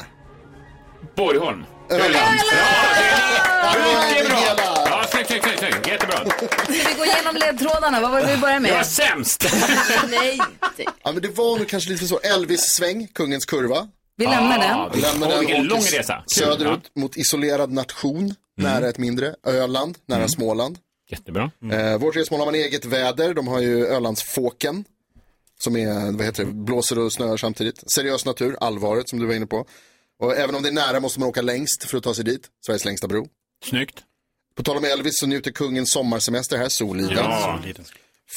Speaker 16: Borgholm. Öland. Mycket bra! Ja, snyggt, snyggt, snyggt, snyggt. Jättebra.
Speaker 1: Ska vi gå igenom ledtrådarna? Vad var det vi började med?
Speaker 16: Jag var sämst!
Speaker 1: Nej.
Speaker 3: Ja, men det var nog kanske lite så. Elvis-sväng, kungens kurva. Ah,
Speaker 1: Vi lämnar den.
Speaker 3: Vi lämnar den.
Speaker 16: Åh, vilken
Speaker 3: Åker
Speaker 16: lång resa. Mm.
Speaker 3: Söderut mot isolerad nation, nära ett mindre. Öland, nära Småland.
Speaker 16: Jättebra.
Speaker 3: Eh, vårt resmål har man eget väder. De har ju Ölandsfåken. Som är, vad heter det, blåser och snöar samtidigt. Seriös natur, allvaret som du var inne på. Och även om det är nära måste man åka längst för att ta sig dit. Sveriges längsta bro.
Speaker 16: Snyggt.
Speaker 3: På tal om Elvis så njuter kungen sommarsemester här, Soliden.
Speaker 16: Ja.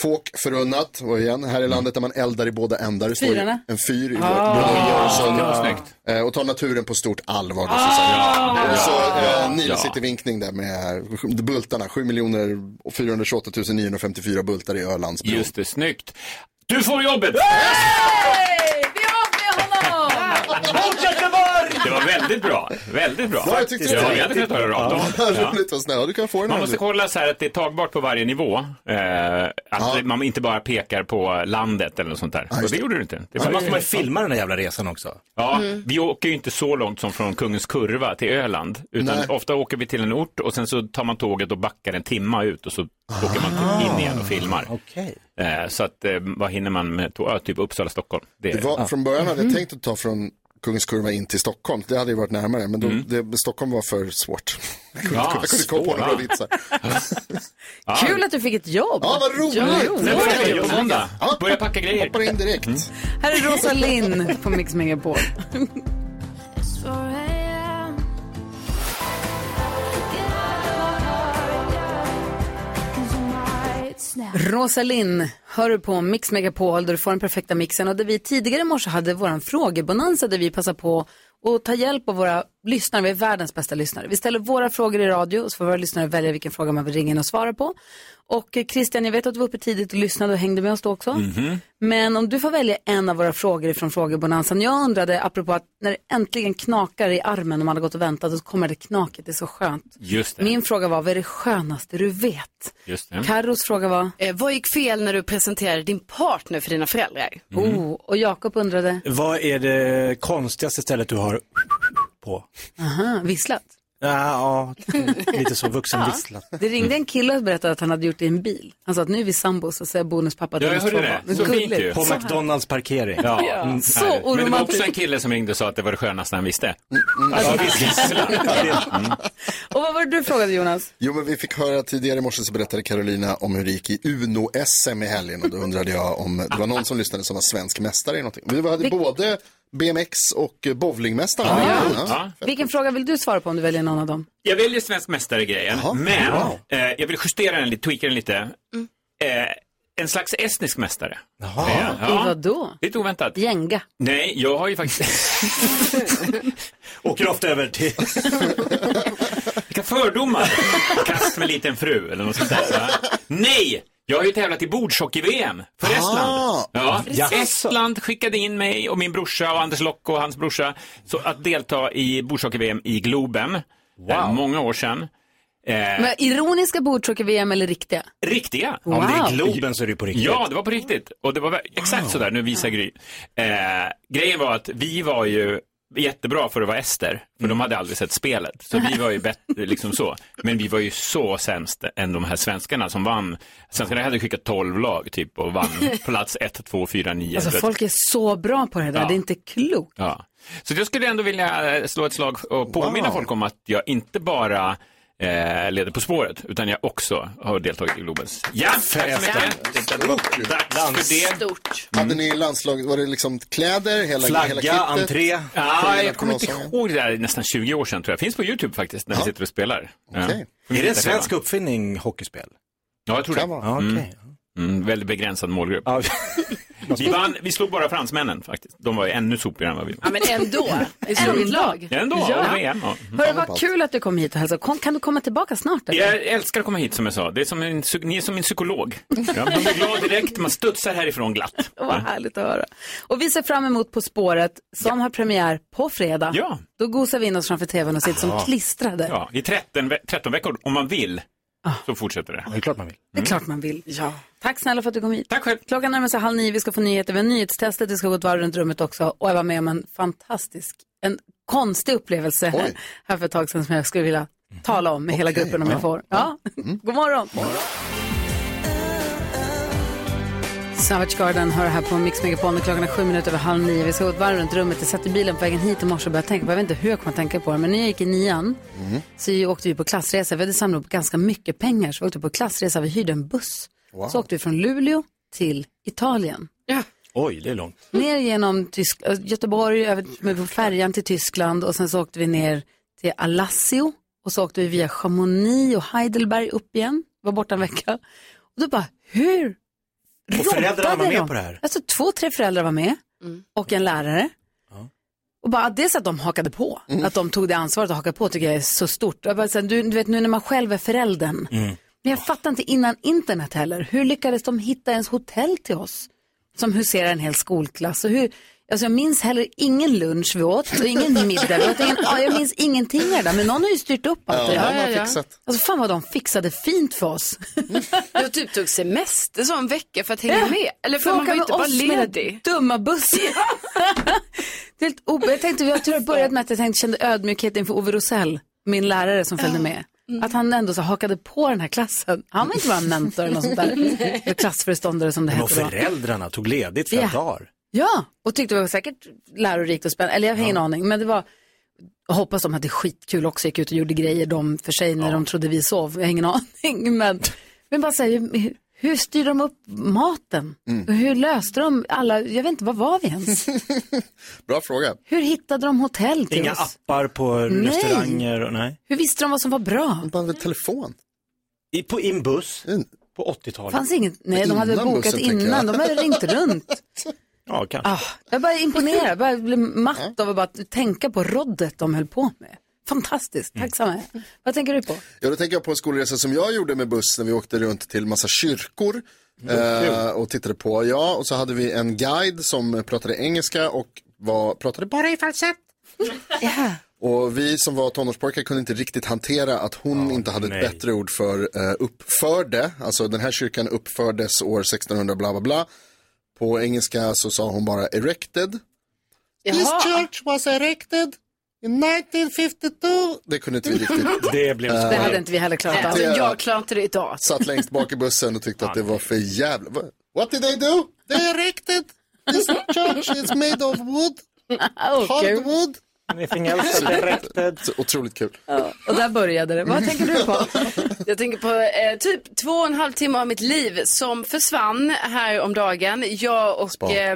Speaker 3: Fåk förunnat, och igen, här
Speaker 16: Mm.
Speaker 3: i landet där man eldar i båda ändar. Det står ju
Speaker 1: Fyrarna.
Speaker 3: En fyr i vårt
Speaker 1: Ah.
Speaker 3: Öresund.
Speaker 16: Ja, snyggt.
Speaker 3: Eh, Och tar naturen på stort allvar. måste jag säga.
Speaker 16: Ah.
Speaker 3: Och så
Speaker 16: Ja.
Speaker 3: eh, Nilsittervinkning där med bultarna. 7 428 954 bultar i Ölandsbron.
Speaker 16: Just det, snyggt. Du får jobbet!
Speaker 2: Mot Göteborg!
Speaker 16: Det var väldigt bra. Väldigt bra.
Speaker 3: Ja, jag tyckte det
Speaker 16: ja,
Speaker 3: var
Speaker 16: jag hade kunnat höra rakt av.
Speaker 3: Ja,
Speaker 16: Ja.
Speaker 3: roligt, vad snäll. Du kan få den
Speaker 16: Man
Speaker 3: här
Speaker 16: måste
Speaker 3: nu.
Speaker 16: kolla så här att det är tagbart på varje nivå. Eh, att man inte bara pekar på landet eller något sånt där. och det gjorde du inte. Det
Speaker 2: Så måste man ju filma den där jävla resan också.
Speaker 16: Ja, vi åker ju inte så långt som från Kungens Kurva till Öland. Utan
Speaker 2: Nej.
Speaker 16: ofta åker vi till en ort och sen så tar man tåget och backar en timma ut och så
Speaker 3: Ah.
Speaker 16: åker man in igen och filmar. Eh, så att eh, vad hinner man med? tå- ja, Typ Uppsala, Stockholm. Det, Mm.
Speaker 3: Det var, Från början hade jag tänkt att ta från Kungskurva in till Stockholm. Det hade ju varit närmare, men då, det, Stockholm var för svårt. Jag kunde,
Speaker 16: Mm. Ja,
Speaker 3: jag kunde komma på
Speaker 16: svåra.
Speaker 3: några vitsar.
Speaker 1: Kul att du fick ett jobb.
Speaker 3: Ja, vad roligt.
Speaker 16: Nu börjar vi på måndag.
Speaker 3: Ja,
Speaker 16: Börja packa grejer. Mm.
Speaker 3: Hoppar in direkt.
Speaker 1: Här är Rosa Linn på Mix Megapol.
Speaker 5: It's 4 a.m.
Speaker 1: Rosalind hör du på Mix Megapol där du får den perfekta mixen och där vi tidigare i morse hade våran frågebonanza där vi passar på och ta hjälp av våra lyssnare. Vi är världens bästa lyssnare. Vi ställer våra frågor i radio och så får våra lyssnare välja vilken fråga man vill ringa in och svara på. Och eh, Christian, jag vet att du var uppe tidigt och lyssnade och hängde med oss då också.
Speaker 16: Mhm.
Speaker 1: Men om du får välja en av våra frågor från frågebonanzan. Jag undrade, apropå att när det äntligen knakar i armen och man har gått och väntat och så kommer det knaket, det är så skönt.
Speaker 16: Just det.
Speaker 1: Min fråga var, vad är det skönaste du vet?
Speaker 16: Just det.
Speaker 1: Carros fråga var? eh,
Speaker 4: vad gick fel när du presenterade din partner för dina föräldrar?
Speaker 16: Mm.
Speaker 1: Oh, och Jakob undrade?
Speaker 2: Vad är det konstigaste stället du har på?
Speaker 1: Aha, visslat?
Speaker 2: Ja, ja lite så vuxenvisslat.
Speaker 1: Det
Speaker 16: Mm.
Speaker 1: ringde en kille och berättade att han hade gjort det i en bil. Han sa att nu är vi sambos och så är bonuspappa
Speaker 16: Ja, jag
Speaker 1: deras
Speaker 16: hörde
Speaker 1: två
Speaker 16: det.
Speaker 1: barn.
Speaker 16: Så fint ju.
Speaker 2: På
Speaker 1: Så här.
Speaker 2: McDonalds parkering.
Speaker 16: Ja.
Speaker 1: Ja.
Speaker 16: Mm,
Speaker 1: Så
Speaker 16: härligt. Men det var
Speaker 1: oromantiskt.
Speaker 16: också en kille som ringde och sa att det var det skönaste han visste.
Speaker 2: Mm,
Speaker 3: Alltså,
Speaker 16: Ja, visst, Mm. gisslan.
Speaker 1: Och vad var det du frågade Jonas?
Speaker 3: Jo, men vi fick höra tidigare i morse så berättade Carolina om hur det gick i Uno-SM i helgen och då undrade jag om det var någon som lyssnade som var svensk mästare i någonting. Vi hade både BMX och bowlingmästare.
Speaker 16: Ja.
Speaker 1: Vilken fråga vill du svara på om du väljer någon av dem?
Speaker 16: Jag väljer svensk mästare-grejen, men
Speaker 1: Wow.
Speaker 16: eh, jag vill justera den lite, tweaka den lite. Eh, en slags estnisk mästare. Jaha.
Speaker 1: I vad då?
Speaker 16: Lite oväntat.
Speaker 1: Gänga.
Speaker 16: Nej, jag har ju faktiskt...
Speaker 2: Åker ofta över till...
Speaker 16: Vilka fördomar! Kast med liten fru eller något sånt där. va? Nej! Jag har ju tävlat i bordshockey-VM för Estland.
Speaker 2: Ah,
Speaker 16: ja.
Speaker 2: jaså.
Speaker 16: Estland skickade in mig och min brorsa och Anders Locke och hans brorsa så att delta i bordshockey-VM i Globen. Eh, många år sedan. Eh,
Speaker 1: Men ironiska bordshockey-VM eller riktiga?
Speaker 16: Riktiga.
Speaker 1: Wow. Om det är
Speaker 2: Globen så är det på riktigt.
Speaker 16: Ja, det var på riktigt. Och det var ver- exakt sådär, nu visar Gry. Eh, grejen var att vi var ju jättebra för att vara ester, för de hade aldrig sett spelet. Så vi var ju bättre, liksom så. Men vi var ju så sämst än de här svenskarna som vann. Svenskarna hade skickat 12 lag typ och vann plats 1, 2, 4, 9.
Speaker 1: Alltså folk är så bra på det där,
Speaker 16: Ja.
Speaker 1: det är inte klokt.
Speaker 16: Ja. Så jag skulle ändå vilja eh, slå ett slag och påminna folk om att jag inte bara eh, leder På spåret, utan jag också har deltagit i Globens. Ja, tack så mycket. Det var Dags för det.
Speaker 4: Stort.
Speaker 3: Hade ni landslag, var det liksom kläder, hela, hela kittet?
Speaker 16: Ja, jag kommer inte ihåg det där, det är nästan 20 år sedan tror jag. Finns på YouTube faktiskt, när vi sitter och spelar.
Speaker 2: Okej. Är det en svensk uppfinning, hockeyspel?
Speaker 16: Ja, jag tror det.
Speaker 2: Kan vara. Ja, okej.
Speaker 16: Mm. Mm, väldigt begränsad målgrupp. vi, vann, vi slog bara fransmännen faktiskt. De var ju ännu sopigare än vad vi var.
Speaker 4: Ja, men ändå. Ändå. lag.
Speaker 16: Ja, ändå. Ja. VM, ja. Mm.
Speaker 1: Hörru, vad kul att du kom hit och hälsade. Kom, kan du komma tillbaka snart? Eller?
Speaker 16: Jag älskar att komma hit som jag sa. Det är som en, psy- ni är som min psykolog. Ja, man blir glad direkt, man studsar härifrån glatt.
Speaker 1: Vad härligt att höra. Och vi ser fram emot På spåret som har premiär på fredag.
Speaker 16: Ja.
Speaker 1: Då gosar vi in oss framför tvn och sitter
Speaker 16: Ja.
Speaker 1: som klistrade. Ah.
Speaker 16: Ja, I 13, ve- 13 veckor, om man vill, så fortsätter det. Det är klart man vill.
Speaker 1: Det är klart man vill. Ja. Tack snälla för att du kom hit.
Speaker 16: Tack själv.
Speaker 1: Klockan närmar sig halv nio, vi ska få nyheter. Vi har nyhetstestet, vi ska gå ett varv runt rummet också. Och jag var med om en fantastisk, en konstig upplevelse här, här för ett tag sedan som jag skulle vilja tala om med hela gruppen om jag får. Mhm. Ja. Mm. God morgon. Savage Garden hör här på Mix Megapol när klockan är sju minuter över halv nio. Vi ska gå ett varv runt rummet. Jag satt i bilen på vägen hit i morse och började tänka på, jag vet inte hur jag kommer att tänka på det, men när jag gick i nian
Speaker 3: Mm.
Speaker 1: så vi åkte vi på klassresa. Vi hade samlat upp ganska mycket pengar så vi åkte på klassresa. Vi hyrde en buss.
Speaker 2: Wow.
Speaker 1: Så åkte vi från Luleå till Italien.
Speaker 2: Oj, det är långt.
Speaker 1: Ner genom Tysk- äh, Göteborg, över med på färjan till Tyskland och sen så åkte vi ner till Alassio och så åkte vi via Chamonix och Heidelberg upp igen. Var borta en vecka. Och då bara, hur
Speaker 2: Och föräldrarna var
Speaker 1: roddade
Speaker 2: med
Speaker 1: de?
Speaker 2: på det här?
Speaker 1: Alltså två, tre föräldrar var med och en lärare. Och bara dels att de hakade på,
Speaker 4: Mm.
Speaker 1: att de tog det ansvaret och hakade på tycker jag är så stort. Jag bara, så här, du, du vet nu när man själv är föräldern.
Speaker 16: Mm.
Speaker 1: Men jag fattar inte innan internet heller. Hur lyckades de hitta ens hotell till oss? Som huserar en hel skolklass. Och hur, alltså jag minns heller ingen lunch vi åt och ingen middag vi åt. Ingen, ja, jag minns ingenting av det där. Men någon har ju styrt upp allt det
Speaker 4: Ja,
Speaker 1: där.
Speaker 4: de har fixat.
Speaker 1: Alltså fan vad de fixade fint för oss.
Speaker 4: Jag typ tog semester så en vecka för att hänga
Speaker 1: Ja.
Speaker 4: med. Eller för man
Speaker 1: Åka
Speaker 4: var ju
Speaker 1: med
Speaker 4: inte bara
Speaker 1: oss med den
Speaker 4: ledig.
Speaker 1: Dumma bussen. Det är helt ob... Jag tänkte, jag tror jag började med att jag tänkte, kände ödmjukhet inför Ove Rosell, min lärare som följde med. Att han ändå så hakade på den här klassen. Han var inte bara en mentor eller något sånt där. Eller klassföreståndare som det
Speaker 2: Men och
Speaker 1: hette då.
Speaker 2: föräldrarna tog ledigt fem
Speaker 1: Ja.
Speaker 2: dagar.
Speaker 1: Ja, och tyckte det var säkert lärorikt och spännande. Eller jag har ingen aning, men det var... Jag hoppas de hade skitkul också, gick ut och gjorde grejer de för sig när de trodde vi sov. Jag har ingen aning, men, men bara säger hur styrde de upp maten? Och Hur löste de alla, jag vet inte, vad var vi ens?
Speaker 3: Bra fråga.
Speaker 1: hur hittade de hotell till
Speaker 2: Inga
Speaker 1: oss?
Speaker 2: appar på
Speaker 1: Nej.
Speaker 2: restauranger och nej.
Speaker 1: Hur visste de vad som var bra?
Speaker 3: Bara med telefon.
Speaker 2: I, på in buss på 80-talet.
Speaker 1: Fanns inget, nej de hade
Speaker 2: Mm. Innan
Speaker 1: bokat
Speaker 2: bussen, tänker jag.
Speaker 1: innan, de hade ringt runt.
Speaker 2: Ja, Ja, kanske.
Speaker 1: Ah, jag bara imponerad, jag bara blev matt av att bara tänka på roddet de höll på med. Fantastiskt, tacksamma.
Speaker 4: Mm.
Speaker 1: Vad tänker du på?
Speaker 3: Ja, då tänker jag på en skolresa som jag gjorde med buss när vi åkte runt till massa kyrkor.
Speaker 2: Mm.
Speaker 3: Eh, och tittade på, ja, och så hade vi en guide som pratade engelska och var, pratade bara i falsett. Och vi som var tonårspojkar kunde inte riktigt hantera att hon inte hade ett bättre ord för eh, uppförde. Alltså den här kyrkan uppfördes år 1600 bla bla bla. På engelska så sa hon bara erected.
Speaker 5: This
Speaker 3: Jaha.
Speaker 5: church
Speaker 3: was erected in 1952. Det kunde inte vi riktigt.
Speaker 2: det blev
Speaker 3: Eh,
Speaker 1: Det hade inte vi heller klarat av.
Speaker 3: Det-
Speaker 4: Jag klarar inte det idag.
Speaker 3: Satt längst bak i bussen och tyckte att det var för jävla... Va- What did they do? They erected. This church is made of wood.
Speaker 1: Oh,
Speaker 3: Hardwood.
Speaker 2: Anything
Speaker 4: else that they
Speaker 3: Så otroligt kul.
Speaker 1: Och där började det. Vad tänker du på?
Speaker 4: Jag tänker på eh, typ två och en halv timme av mitt liv som försvann här om dagen. Jag och
Speaker 1: Spa.
Speaker 4: eh,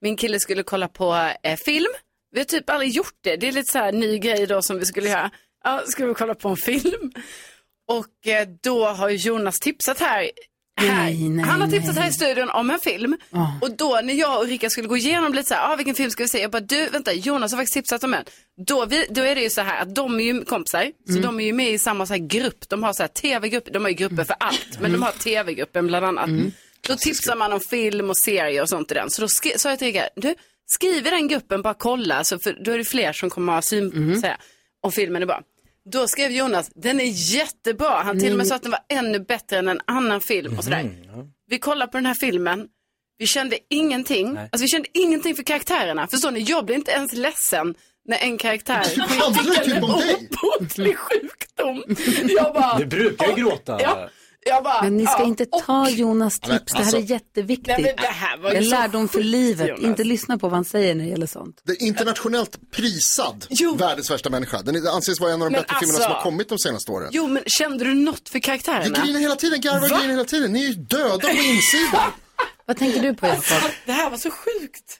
Speaker 4: min kille skulle kolla på eh, film. Vi har typ aldrig gjort det. Det är lite så här ny grej då som vi skulle göra. Ja, skulle vi kolla på en film. Och eh, då har Jonas tipsat här. här. Han har tipsat här i studion om en film. Och då när jag och Rika skulle gå igenom lite så här, ah, vilken film ska vi se? Jag bara, du vänta, Jonas har faktiskt tipsat om en. Då, vi, då är det ju så här att de är ju kompisar, så
Speaker 1: Mm.
Speaker 4: de är ju med i samma så här grupp. De har så här tv-grupp, de har ju grupper för allt, men de har tv-gruppen bland annat. Då tipsar man om film och serier och sånt i den. Så då skri- sa jag till Rika, du skriv i den gruppen, bara kolla, så för då är det fler som kommer ha syn så här, om filmen är bra. Då skrev Jonas, den är jättebra. Han till och med sa att den var ännu bättre än en annan
Speaker 16: Mm.
Speaker 4: film och
Speaker 2: Mhm.
Speaker 4: sådär. Vi kollar på den här filmen. Vi kände ingenting. Alltså vi kände ingenting för karaktärerna. Förstår ni? Jag blev inte ens ledsen när en karaktär fick
Speaker 3: typ-
Speaker 4: en obotlig sjukdom. Jag bara...
Speaker 2: Du brukar ju gråta.
Speaker 4: Ja. Jag bara,
Speaker 1: Men ni ska
Speaker 4: ja.
Speaker 1: inte ta Jonas
Speaker 2: Men
Speaker 1: tips, det här
Speaker 2: alltså-
Speaker 1: är jätteviktigt.
Speaker 4: Nej, men det här var ju
Speaker 1: Det är
Speaker 4: så
Speaker 1: lärdom för
Speaker 4: sjukt,
Speaker 1: livet,
Speaker 3: Jonas.
Speaker 1: inte lyssna på vad han säger när det gäller sånt.
Speaker 3: Det är internationellt prisad världens värsta människa. Den anses vara en av de
Speaker 4: Men
Speaker 3: bättre filmerna
Speaker 4: alltså-
Speaker 3: som har kommit de senaste åren.
Speaker 4: Jo, men kände du något för karaktärerna?
Speaker 3: Jag griner hela tiden, garvar och
Speaker 4: Va?
Speaker 3: griner hela tiden. Ni är ju döda på insidan.
Speaker 1: Vad tänker du på Jakob?
Speaker 4: Det här var så sjukt.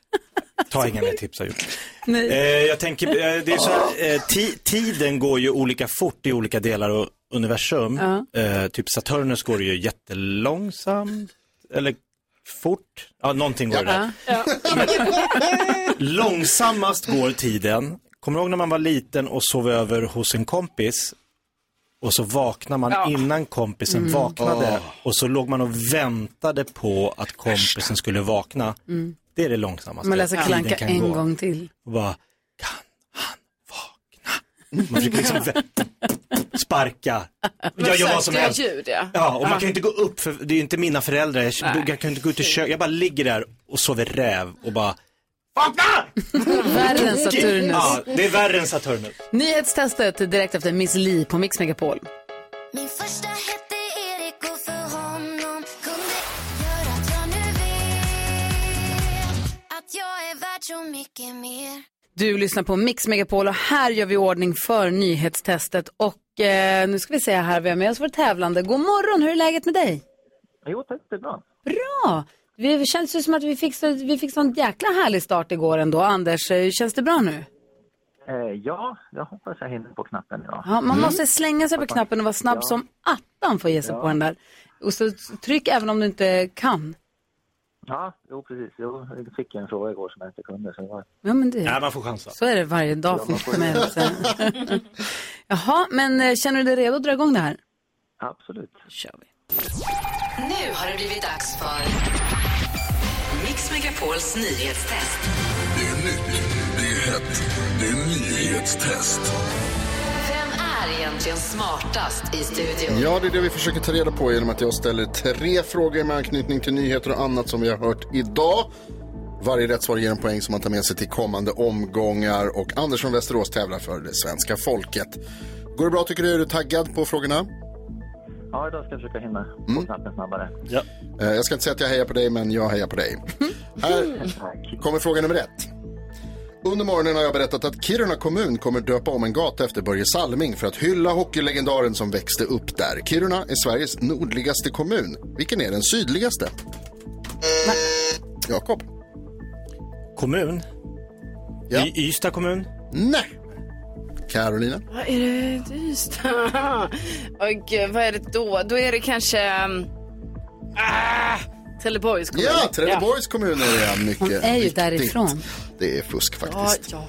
Speaker 2: Ta inga mer tips har gjort. Eh, jag tänker, eh, det är så här, eh, ti- tiden går ju olika fort i olika delar av universum.
Speaker 1: Ja.
Speaker 2: Eh, typ Saturnus går ju jättelångsamt, eller fort, ja någonting går det där. Långsammast går tiden. Kommer du ihåg när man var liten och sov över hos en kompis? Och så vaknade man
Speaker 7: Ja.
Speaker 2: innan kompisen
Speaker 7: Mm.
Speaker 2: vaknade
Speaker 7: Åh.
Speaker 2: och så låg man och väntade på att kompisen skulle vakna.
Speaker 1: Mm.
Speaker 2: Det är det långsammaste.
Speaker 1: Man läser
Speaker 2: Tiden
Speaker 1: Kalanka
Speaker 2: kan
Speaker 1: en
Speaker 2: gå.
Speaker 1: gång till.
Speaker 2: Och bara, kan han vakna? Man fick liksom vä- sparka. Jag gör vad som
Speaker 4: Försökte
Speaker 2: helst.
Speaker 4: jag Ljud, ja.
Speaker 2: Ja, och man kan ju inte gå upp för det är ju inte mina föräldrar. Jag,
Speaker 4: Nej.
Speaker 2: jag kan ju inte gå ut i köket. Jag bara ligger där och sover räv och bara,
Speaker 1: Värre än Saturnus.
Speaker 2: ja, det är värre än Saturnus.
Speaker 1: Nyhetstestet direkt efter Miss Li på Mix Megapol.
Speaker 5: Min första hette Erik och för honom kunde göra att jag nu vet att jag är värd så mycket mer.
Speaker 1: Du lyssnar på Mix Megapol och här gör vi ordning för nyhetstestet. Och eh, nu ska vi se här, vi har med oss vår tävlande. God morgon, hur är läget med dig?
Speaker 17: Jo tack, det är bra.
Speaker 1: Bra! Det känns ju som att vi fick, så, vi fick sån jäkla härlig start igår ändå. Anders, eh, känns det bra nu?
Speaker 17: Eh, ja, jag hoppas jag hinner på knappen idag. Mm.
Speaker 1: Mm. Ja, man måste slänga sig på knappen och vara snabb som attan för att ge sig på den där. Och så tryck även om du inte kan.
Speaker 17: Ja, jo precis. Jo, jag fick en fråga igår som jag inte kunde. Så det var...
Speaker 1: Ja, men det,
Speaker 2: man får chansa.
Speaker 1: så är det varje dag för, för mig. också. Jaha, men eh, känner du dig redo att dra igång det här?
Speaker 17: Absolut.
Speaker 1: kör vi.
Speaker 9: Nu har det blivit dags för Mix Megapols nyhetstest.
Speaker 18: Det är nytt, det är hett, det är nyhetstest.
Speaker 9: Vem är egentligen smartast i studion?
Speaker 3: Ja, det är det vi försöker ta reda på genom att jag ställer tre frågor med anknytning till nyheter och annat som vi har hört idag. Varje rätt svar ger en poäng som man tar med sig till kommande omgångar och Anders från Västerås tävlar för det svenska folket. Går det bra tycker du? Är du taggad på frågorna? Mm.
Speaker 17: Ja, idag ska jag försöka hinna på knappen snabbare.
Speaker 2: Ja.
Speaker 3: Eh, Jag ska inte säga att jag hejar på dig, men jag hejar på dig. Här kommer fråga nummer ett. Under morgonen har jag berättat att Kiruna kommun kommer döpa om en gata efter Börje Salming för att hylla hockeylegendaren som växte upp där. Kiruna är Sveriges nordligaste kommun. Vilken är den sydligaste? Jakob.
Speaker 2: Kommun? I Ystad kommun?
Speaker 3: Nej. Carolina?
Speaker 4: Vad är det just? Åh gud, vad är det då? Då är det kanske... ehm, Ah,
Speaker 10: Trelleborgs kommun.
Speaker 3: Ja, Trelleborgs kommun är det mycket.
Speaker 1: Hon är ju
Speaker 3: viktigt.
Speaker 1: därifrån.
Speaker 3: Det är fusk
Speaker 1: Ja,
Speaker 3: faktiskt.
Speaker 1: ja.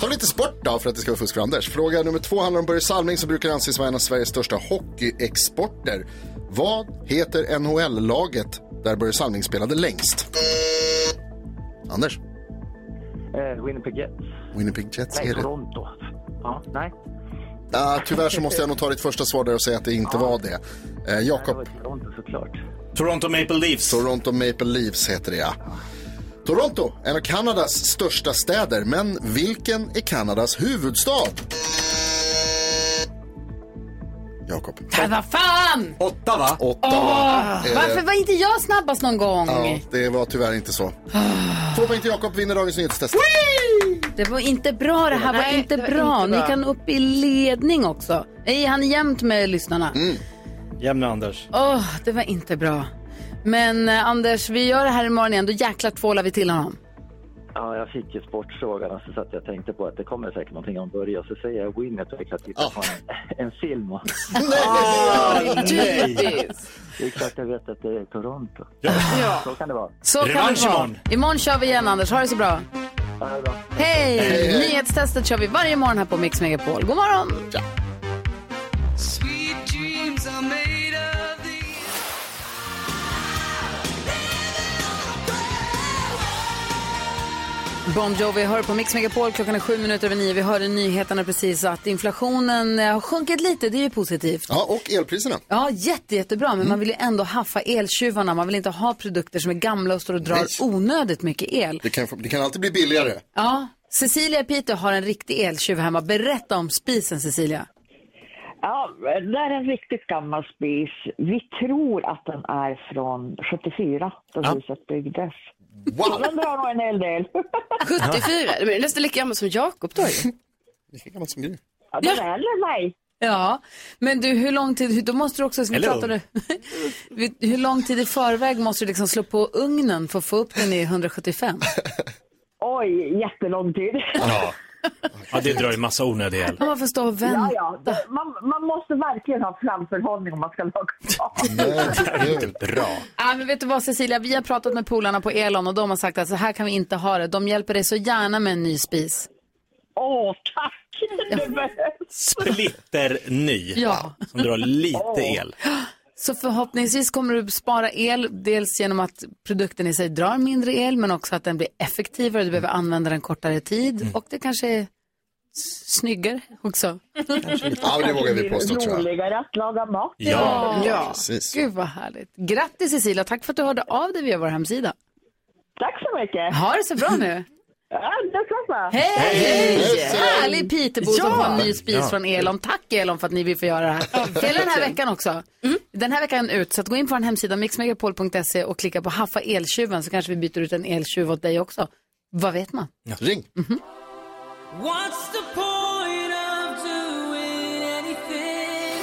Speaker 3: Ta lite sport då för att det ska vara fusk för Anders. Fråga nummer två handlar om Börje Salming som brukar anses vara en av Sveriges största hockeyexporter. Vad heter NHL-laget där Börje Salming spelade längst? Anders?
Speaker 17: Eh, Winnipeg Jets.
Speaker 3: Winnipeg Jets
Speaker 17: Nej,
Speaker 3: är det.
Speaker 17: Toronto. Ja, nej.
Speaker 3: Ah, tyvärr så måste jag nog ta ditt första svar där och säga att det inte var det. Eh, Jakob?
Speaker 17: Toronto såklart.
Speaker 3: Toronto Maple Leafs. Toronto Maple Leafs heter det, ja. Toronto, en av Kanadas största städer, men vilken är Kanadas huvudstad? Jakob.
Speaker 1: Men vad fan!
Speaker 3: Åtta, va? Åtta, va? Eh,
Speaker 1: Åh, varför var Eh, inte jag snabbast någon gång?
Speaker 3: Ja, det var tyvärr inte så. Två poäng till Jakob, vinner dagens nyhetstest.
Speaker 1: Det var inte bra det här, var
Speaker 10: Nej,
Speaker 1: inte
Speaker 10: det var
Speaker 1: bra.
Speaker 10: inte bra.
Speaker 1: Ni kan upp i ledning också. Nej, han är jämnt med lyssnarna.
Speaker 2: Jämna Anders.
Speaker 1: Åh, det var inte bra. Men eh, Anders, vi gör det här imorgon igen. Då jäklar tvålar vi till honom.
Speaker 17: Ja, jag fick ju sportfrågan och så satt jag och tänkte på att det kommer säkert någonting om Börje och så säger jag Winnipeg. Jag tittar på en, en film och...
Speaker 1: Ah,
Speaker 17: Det är klart jag vet att det är Toronto.
Speaker 1: Ja.
Speaker 17: Så kan det vara.
Speaker 1: Så kan det vara. Imorgon kör vi igen Anders. Ha det så bra. Hej!
Speaker 17: Hej, hej.
Speaker 1: Nyhetstestet kör vi varje morgon här på Mix Megapol. God morgon!
Speaker 5: Sweet dreams are made of
Speaker 1: Bon Jovi hör på Mix Megapol. Klockan är sju minuter över nio. Vi hörde i nyheterna precis att inflationen eh, har sjunkit lite. Det är ju positivt.
Speaker 3: Ja, och elpriserna. Mm.
Speaker 1: Ja, jätte, jättebra. Men man vill ju ändå haffa eltjuvarna. Man vill inte ha produkter som är gamla och står och drar
Speaker 3: Nej.
Speaker 1: onödigt mycket el.
Speaker 3: Det kan, det kan alltid bli billigare.
Speaker 1: Ja, Cecilia i Piteå har en riktig eltjuv hemma. Berätta om spisen, Cecilia.
Speaker 19: Ja, det är en riktigt gammal spis. Vi tror att den är från 74, då huset byggdes.
Speaker 3: Wow.
Speaker 19: Den drar nog en hel del.
Speaker 4: 74, men det är nästan lika gammal som Jakob då ju.
Speaker 3: Lika gammal som du.
Speaker 19: Ja, den är äldre än mig.
Speaker 1: Ja, men du, hur lång tid, hur- då måste du också, som vi
Speaker 19: Hello.
Speaker 1: pratade, vi- hur lång tid i förväg måste du liksom slå på ugnen för att få upp den i 175?
Speaker 19: Oj, jättelång tid.
Speaker 2: Ja. ja, det drar ju massa onödig el.
Speaker 1: Man får stå och vänta.
Speaker 19: Ja, ja. Man, man måste verkligen ha framförhållning om man ska laga mat.
Speaker 2: Det är inte bra.
Speaker 1: Ja, men vet du vad Cecilia, vi har pratat med polarna på Elon och de har sagt att så här kan vi inte ha det. De hjälper dig så gärna med en ny spis.
Speaker 19: Åh, tack! Det behövs.
Speaker 2: Splitterny.
Speaker 1: Ja.
Speaker 2: Som drar lite el.
Speaker 1: Så förhoppningsvis kommer du spara el, dels genom att produkten i sig drar mindre el, men också att den blir effektivare. Du behöver använda den kortare tid och det kanske är s- snyggare också.
Speaker 3: Ja, men det vågar vi påstå, tror jag.
Speaker 19: Roligare att laga mat.
Speaker 3: Ja.
Speaker 1: ja.
Speaker 3: Precis.
Speaker 1: Gud vad härligt. Grattis Cecilia, tack för att du hörde av dig via vår hemsida.
Speaker 19: Tack så mycket.
Speaker 1: Ha det så bra nu.
Speaker 19: Ja, detsamma.
Speaker 1: Hej!
Speaker 19: Hej!
Speaker 1: Härlig Pitebo som
Speaker 19: Ja.
Speaker 1: får en ny spis
Speaker 19: Ja.
Speaker 1: från Elon. Tack Elon för att ni vill få göra det här. Hela den här veckan också. Den här veckan ut. Så att gå in på vår hemsida mixmegapol.se och klicka på haffa eltjuven så kanske vi byter ut en eltjuv åt dig också. Vad vet man? Mhm.
Speaker 3: Ring.
Speaker 5: What's the point of doing anything?